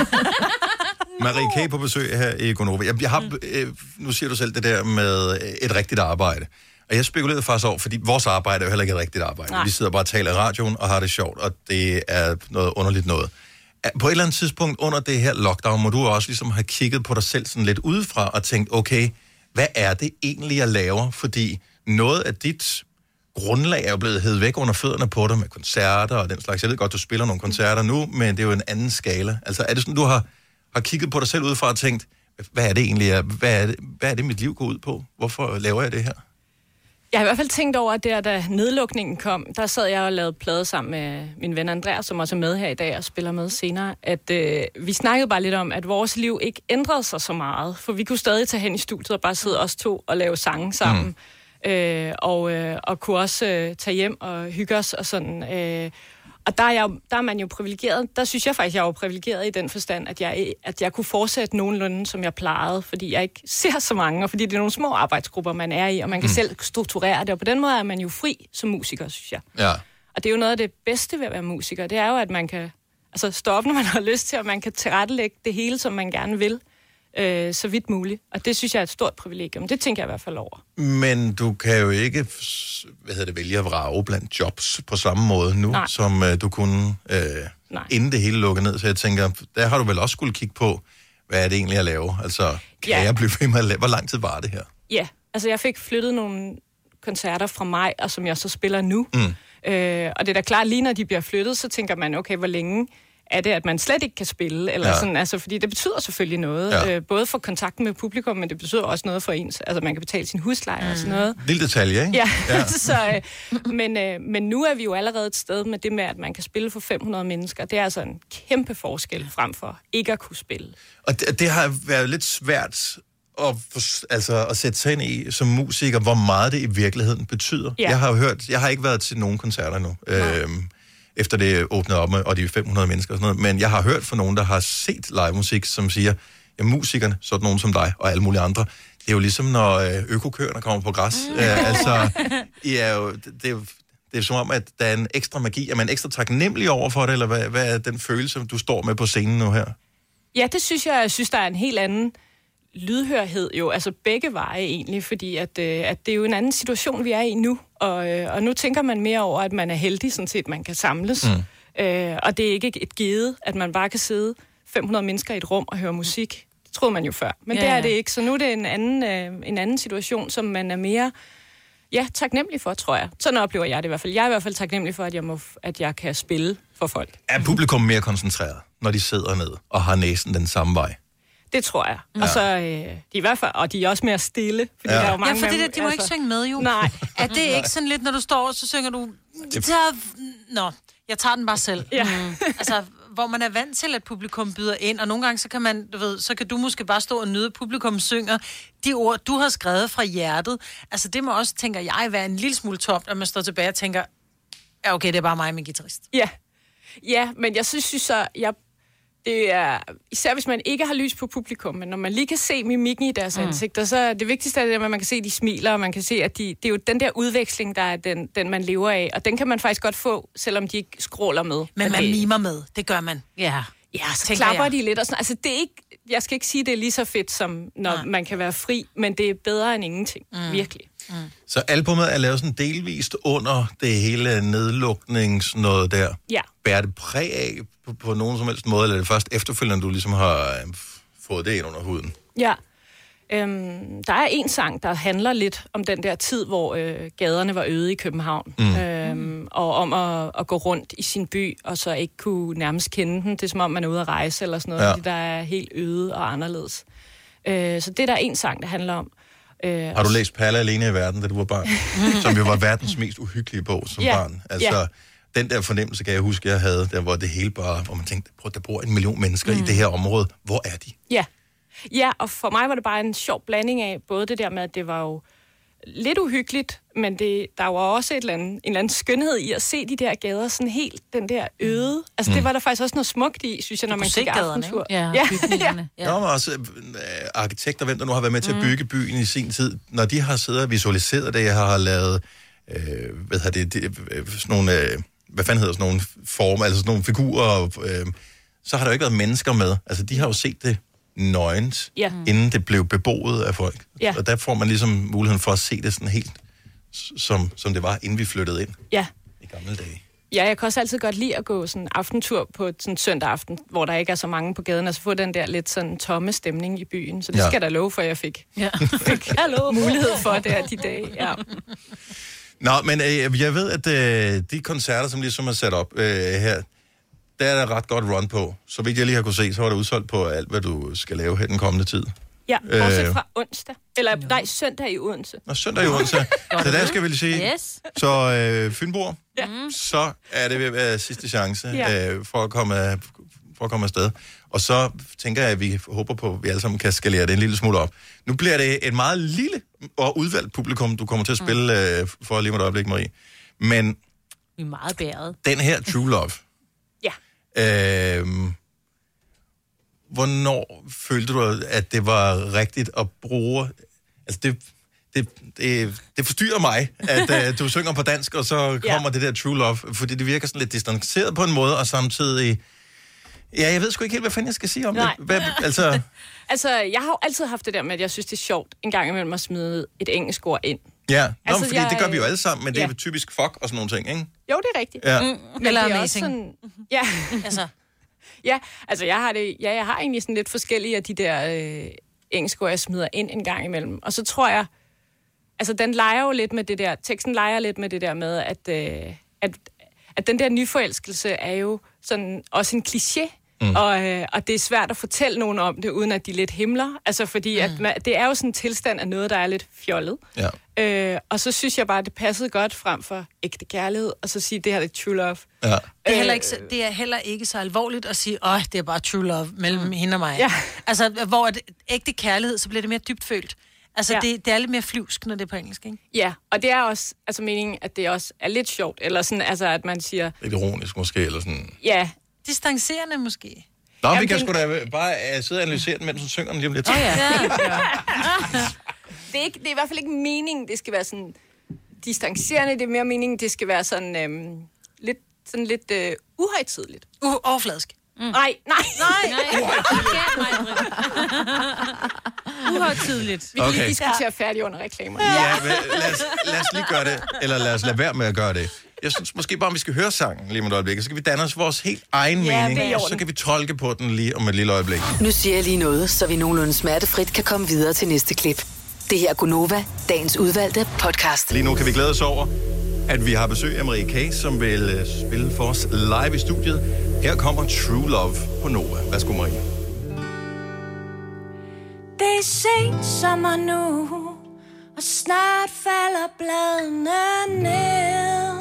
Marie K. på besøg her i Gonova. Jeg, jeg har, øh, nu siger du selv det der med øh, et rigtigt arbejde. Og jeg spekulerede faktisk over, fordi vores arbejde er jo heller ikke et rigtigt arbejde. Nej. Nej. Vi sidder bare og taler i radioen og har det sjovt, og det er noget underligt noget. Er- På et eller andet tidspunkt under det her lockdown, må du også ligesom have kigget på dig selv sådan lidt udefra og tænkt, okay, hvad er det egentlig, jeg laver? Fordi noget af dit grundlag er jo blevet hævet væk under fødderne på dig med koncerter og den slags. Jeg ved godt, du spiller nogle koncerter nu, men det er jo en anden skala. Altså er det sådan, du har, har kigget på dig selv udefra og tænkt, hvad er det egentlig, jeg, hvad, er det, hvad er det, mit liv går ud på? Hvorfor laver jeg det her? Jeg har i hvert fald tænkt over, at der, da nedlukningen kom, der sad jeg og lavede plade sammen med min ven Andreas, som også er med her i dag og spiller med senere, at øh, vi snakkede bare lidt om, at vores liv ikke ændrede sig så meget, for vi kunne stadig tage hen i studiet og bare sidde os to og lave sange sammen, mm. øh, og, øh, og kunne også øh, tage hjem og hygge os og sådan... Øh, og der er, jeg, jo- der er man jo privilegeret. Der synes jeg faktisk, jeg var privilegeret i den forstand, at jeg, at jeg kunne fortsætte nogenlunde, som jeg plejede, fordi jeg ikke ser så mange, og fordi det er nogle små arbejdsgrupper, man er i, og man kan mm. selv strukturere det. Og på den måde er man jo fri som musiker, synes jeg. Ja. Og det er jo noget af det bedste ved at være musiker, det er jo, at man kan altså, stå op, når man har lyst til, og man kan tilrettelægge det hele, som man gerne vil, øh, så vidt muligt. Og det synes jeg er et stort privilegium. Det tænker jeg i hvert fald over. Men du kan jo ikke s- hvad hedder det, vælge at vrage blandt jobs på samme måde nu, Nej. Nej. som øh, du kunne, øh, inden det hele lukkede ned. Så jeg tænker, der har du vel også skulle kigge på, hvad er det egentlig, jeg laver? Altså, kan Ja. jeg blive ved med at lave? Hvor lang tid var det her? Ja, altså jeg fik flyttet nogle koncerter fra mig, og som jeg så spiller nu. Mm. Øh, og det er da klart, lige når de bliver flyttet, så tænker man, okay, hvor længe er det, at man slet ikke kan spille? Eller Ja. ja. sådan, altså, fordi det betyder selvfølgelig noget, Ja. ja. øh, både for kontakten med publikum, men det betyder også noget for ens, altså man kan betale sin husleje mm. og sådan noget. Lille detalje, ikke? Ja, så, øh, men, øh, men nu er vi jo allerede et sted med det med, at man kan spille for 500 mennesker. Det er altså en kæmpe forskel frem for ikke at kunne spille. Og det, det har været lidt svært at, for- altså, at sætte sig ind i som musiker, hvor meget det i virkeligheden betyder. Ja. Jeg har jo hørt, jeg har ikke været til nogen koncerter nu, øhm, efter det åbnede op, med- og de er 500 mennesker og sådan noget, men jeg har hørt fra nogen, der har set live musik, som siger, ja, musikerne, sådan nogen som dig og alle mulige andre, det er jo ligesom, når øh, økokøerne kommer på græs. Mm. Øh, altså, I er jo, det, det, er jo- det er som om, at der er en ekstra magi. Er man ekstra taknemmelig over for det, eller hvad, hvad er den følelse, du står med på scenen nu her? Ja, det synes jeg, jeg synes, der er en helt anden lydhørhed jo, altså begge veje egentlig, fordi at, øh, at det er jo en anden situation, vi er i nu, og, øh, og nu tænker man mere over, at man er heldig sådan set, man kan samles, mm. øh, og det er ikke et givet, at man bare kan sidde 500 mennesker i et rum og høre musik. Det troede man jo før, men Ja, det er ja. det ikke, så nu er det en anden, øh, en anden situation, som man er mere ja, taknemmelig for, tror jeg. Sådan oplever jeg det i hvert fald. Jeg er i hvert fald taknemmelig for, at jeg, må, f- at jeg kan spille for folk. Er publikum mere koncentreret, når de sidder ned og har næsen den samme vej? Det tror jeg. Ja. Ja. Og så øh, de er i hvert fald, og de er også mere stille, fordi Ja. ja. der er jo mange ja, for det med der, dem, altså- de må ikke synge med, jo. Nej. Er det Nej. ikke sådan lidt, når du står, så synger du... "Jeg Tager... Nå, jeg tager den bare selv. Ja. Mm. Altså, hvor man er vant til, at publikum byder ind, og nogle gange, så kan man, du ved, så kan du måske bare stå og nyde, at publikum synger de ord, du har skrevet fra hjertet. Altså, det må også, tænker jeg, være en lille smule tomt, at man står tilbage og tænker, ja, okay, det er bare mig og min guitarist. Ja. Ja, men jeg synes, synes så, jeg, det er, især hvis man ikke har lys på publikum, men når man lige kan se mimikken i deres Mm. mm. ansigter, så er det vigtigste er det, at man kan se, at de smiler, og man kan se, at de, det er jo den der udveksling, der er den, den, man lever af, og den kan man faktisk godt få, selvom de ikke skråler med. Men man det, mimer med, det gør man. Ja. Ja, så tænker klapper jeg. jeg. de lidt og sådan. Altså, det er ikke, jeg skal ikke sige, at det er lige så fedt, som når Nej. Nej. man kan være fri, men det er bedre end ingenting, mm. virkelig. Så albummet er lavet sådan delvist under det hele nedluknings noget der. Ja. Bærer det præg af på, på nogen som helst måde, eller er det først efterfølgende, du ligesom har øh, f- fået det ind under huden? Ja. Øhm, der er en sang, der handler lidt om den der tid, hvor øh, gaderne var øde i København. Mm. Mm. Øhm, og om at, at gå rundt i sin by, og så ikke kunne nærmest kende den. Det er som om, man er ude at rejse eller sådan noget, Ja. ja. fordi der er helt øde og anderledes. Øh, så det er der en sang, der handler om. Øh, Har du læst Palle alene i verden, da du var barn? som jo var verdens mest uhyggelige bog som Ja, barn. Altså, ja. den der fornemmelse kan jeg huske, jeg havde, der hvor det hele bare, hvor man tænkte, prøv, der bor en million mennesker mm. i det her område. Hvor er de? Ja. ja, og for mig var det bare en sjov blanding af både det der med, at det var jo lidt uhyggeligt, men det, der var også et eller andet, en eller anden skønhed i at se de der gader sådan helt den der øde. Mm. Altså det var der faktisk også noget smukt i, synes jeg, når Du man kunne se gik gaderne, aftentur. ikke? Ja, ja. Ja. Der var også øh, arkitekter, hvem der nu har været med til at bygge byen i sin tid. Når de har siddet og visualiseret det, jeg har lavet, øh, hvad hedder det, det øh, sådan nogle, øh, hvad fanden hedder sådan nogle former, altså sådan nogle figurer, og, øh, så har der jo ikke været mennesker med. Altså, de har jo set det nøgent, Ja. Mm. inden det blev beboet af folk. Ja. Og der får man ligesom muligheden for at se det sådan helt, s- som, som det var, inden vi flyttede ind ja. i gamle dage. Ja, jeg kan også altid godt lide at gå sådan en aftentur på et sådan søndag aften, hvor der ikke er så mange på gaden, og så få den der lidt sådan tomme stemning i byen. Så det Ja. ja. skal jeg da love for, at jeg fik, ja. fik mulighed for der de dage. Ja. Nå, men øh, jeg ved, at øh, de koncerter, som ligesom er sat op øh, her, der er der ret godt run på. Så vidt jeg lige har kunne se, så var der udsolgt på alt, hvad du skal lave her den kommende tid. Ja, Øh. bortset fra onsdag. Eller nej, søndag i Odense. Og søndag i onsdag. så der skal vi lige sige. Yes. Mm. Så øh, Fynborg, ja. så er det ved at være sidste chance Ja. øh, for, at komme, for at komme afsted. Og så tænker jeg, at vi håber på, at vi alle sammen kan skalere det en lille smule op. Nu bliver det et meget lille og udvalgt publikum, du kommer til at spille øh, for lige med et øjeblik, Marie. Men Vi er meget bæret. den her True Love. Ja. Øhm, hvornår følte du, at det var rigtigt at bruge... Altså, det, det, det, det forstyrrer mig, at uh, du synger på dansk, og så kommer ja. det der True Love, fordi det virker sådan lidt distanceret på en måde, og samtidig... Ja, jeg ved sgu ikke helt, hvad fanden jeg skal sige om Nej. det. Hvad, altså, Altså, jeg har jo altid haft det der med, at jeg synes, det er sjovt en gang imellem at smide et engelsk ord ind. ja. Nå, Altså, altså, fordi jeg- det gør vi jo alle sammen, men det ja. er jo typisk fuck og sådan nogle ting, ikke? Jo, det er rigtigt. Ja. Men Eller det er amazing. Også Mm. sådan, ja. altså. ja, altså jeg har, det, ja, jeg har egentlig sådan lidt forskellige af de der øh, engelske ord, jeg smider ind en gang imellem. Og så tror jeg, altså den leger jo lidt med det der, teksten leger lidt med det der med, at, øh, at, at den der nyforelskelse er jo sådan også en kliché. Mm. Og, øh, og det er svært at fortælle nogen om det, uden at de lidt himler. Altså fordi, mm. at man, det er jo sådan en tilstand af noget, der er lidt fjollet. Ja. Øh, og så synes jeg bare, at det passede godt frem for ægte kærlighed, og så sige, det her det er true love. Ja. Det er, heller ikke, så- det er heller ikke så alvorligt at sige, åh, det er bare true love mellem mm. hende og mig. Ja. Altså, hvor er det ægte kærlighed, så bliver det mere dybt følt. Altså, ja. Ja. det, det er lidt mere flyvsk, når det er på engelsk, ikke? Ja, og det er også altså, meningen, at det også er lidt sjovt, eller sådan, altså, at man siger, Lidt ironisk måske, eller sådan... ja. Distancerende måske. Nå, Jamen, vi Jamen, kan den- sgu da bare uh, sidde og analysere den, mens hun synger den lige om lidt. det, er ikke, det er i hvert fald ikke meningen, det skal være sådan distancerende, det er mere meningen, det skal være sådan øhm, lidt, sådan lidt øh, uhøjtidligt. Uh, overfladisk. Mm. Nej, nej. Nej. uhøjtidligt. Vi kan Okay. lige diskutere færdig under reklamerne. Ja, men lad os, lad os lige gøre det, eller lad os lade være med at gøre det. Jeg synes måske bare, om vi skal høre sangen lige om et øjeblik, og så kan vi danne os vores helt egen Ja, det er i mening, og så orden. kan vi tolke på den lige om et lille øjeblik. Nu siger jeg lige noget, så vi nogenlunde smertefrit kan komme videre til næste klip. Det her er Gunova, dagens udvalgte podcast. Lige nu kan vi glæde os over, at vi har besøg af Marie K., som vil øh, spille for os live i studiet. Her kommer True Love på Nova. Værsgo, Marie. i sent sommer nu, og snart falder bladene ned.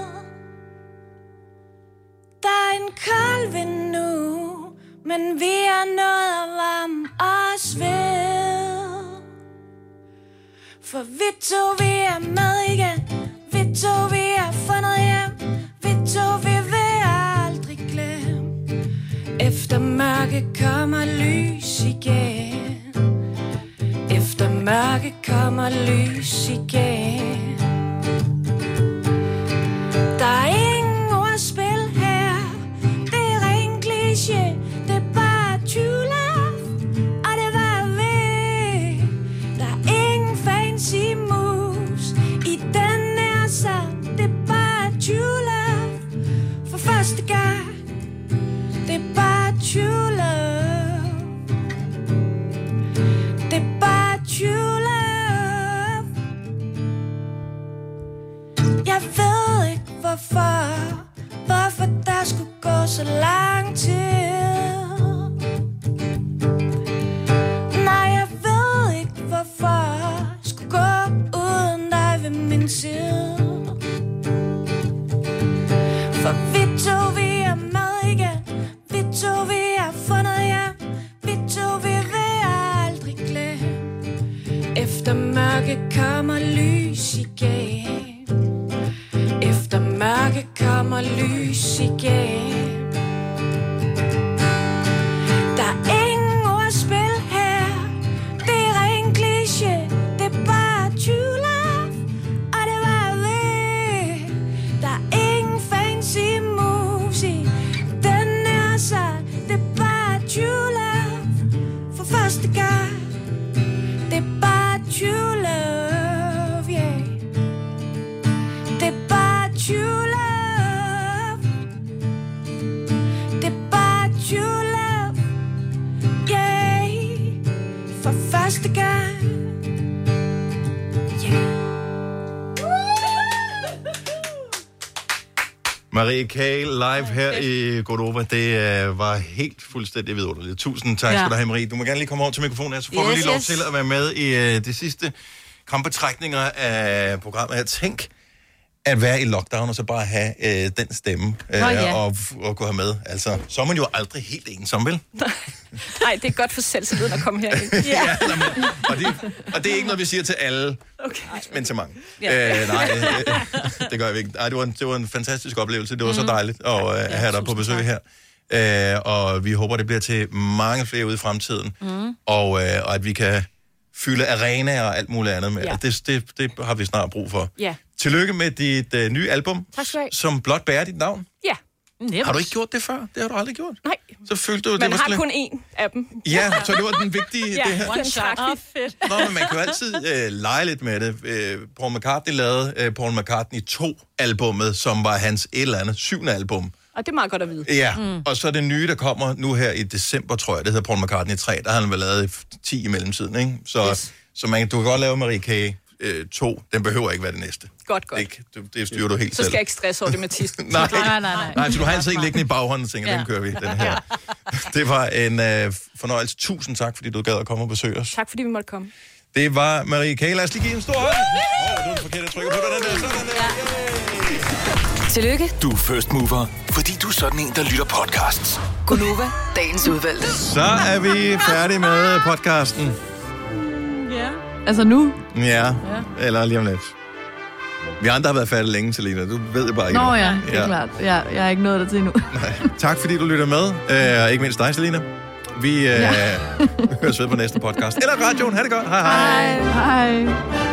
Der er en kold vind nu, men vi er nået at varme os ved. For vi to, vi er med igen. Vi to, vi er fundet hjem. Vi to, vi vil aldrig glemme. Efter mørke kommer lys igen. Efter mørke kommer lys igen. Der er ingen ordspil her. Det er ren kliché. Det er bare true love. Og det var ved. Der er ingen fancy moves i den her sang. Det er bare true love. For første gang. Det er bare true love. Det er bare true love. Jeg ved ikke hvorfor, hvorfor der skulle gå så lang tid. Nej, jeg ved ikke hvorfor, skulle gå uden dig ved min side. For vi to, vi er med igen. Vi to, vi er fundet hjem. Vi to, vi vil aldrig glemme. Efter mørke kommer lys igen. Efter mørke kommer lys igen. Der er ingen ordspil her. Det er ren kliché. Det er bare true love. Og det var ved. Der er ingen fancy moves i den her sang. Det er bare true love for første gang. Det er bare true love, yeah. Det er bare true love. Det er bare true love, yeah. For første gang. Marie K. live her i Godova, det øh, var helt fuldstændig vidunderligt. Tusind tak Ja. skal du have, Marie. Du må gerne lige komme over til mikrofonen her, så får yes, du Yes, lige lov yes. til at være med i øh, det sidste kampbetrækninger af programmet her. Tænk at være i lockdown og så bare have øh, den stemme øh, Nå, ja. og, og kunne have med. Altså, så er man jo aldrig helt ensom, vel? Nej, det er godt for selvtilliden at komme herind. Ja. Og det, og det er ikke noget, vi siger til alle, Okay. men til mange. Ja. Øh, nej, øh, det gør vi ikke. Ej, det, var en, det var en fantastisk oplevelse. Det var Mhm. mm. så dejligt at øh, have dig på besøg her. Øh, og vi håber, det bliver til mange flere ude i fremtiden. Mhm. Mm. Og, øh, og at vi kan fylde arenaer og alt muligt andet med. Ja. Ja. Det, det, det har vi snart brug for. Ja. Tillykke med dit øh, nye album, Tak skal du have. som blot bærer dit navn. Ja. Nemt. Har du ikke gjort det før? Det har du aldrig gjort. Nej. Så følte du, det Man var har sådan kun lidt- en af dem. Ja, så det var den vigtige, ja, det her. One shot. Oh, fedt. Nå, men man kan jo altid øh, lege lidt med det. Øh, Paul McCartney lavede øh, Paul McCartney 2 albummet, som var hans et eller andet syvende album. Og det er meget godt at vide. Ja, mm. og så det nye, der kommer nu her i december, tror jeg, det hedder Paul McCartney 3, der har han vel lavet f- 10 i mellemtiden, ikke? Så, yes. så man, du kan godt lave Marie K. Øh, 2, den behøver ikke være det næste. Godt, godt. Det, det, det styrer du helt Så skal selv. jeg ikke stresse over det med tisten. Nej. Nej, Nej, så du har altid en liggende i baghånden og tænker, Ja. den kører vi, den her. Det var en øh, fornøjelse. Tusind tak, fordi du gad at komme og besøge os. Tak fordi vi måtte komme. Det var Marie K. Lad os lige give en stor hånd. Åh, det var den forkerte trykker på den der. Sådan der. Tillykke. Du er first mover, fordi du er sådan en, der lytter podcasts. Gunova, dagens udvalgte. Så er vi færdige med podcasten. Ja. Altså nu? Ja, eller lige om lidt. Vi andre har været færdige længe, Selina. Du ved det bare ikke. Nå ja, det er klart. Ja, jeg er ikke nået dertil endnu. Tak fordi du lytter med, øh, og ikke mindst dig, Selina. Vi øh, høres ved på næste podcast. Eller radioen. Ha' det godt. Hej hej. Hej. Hej.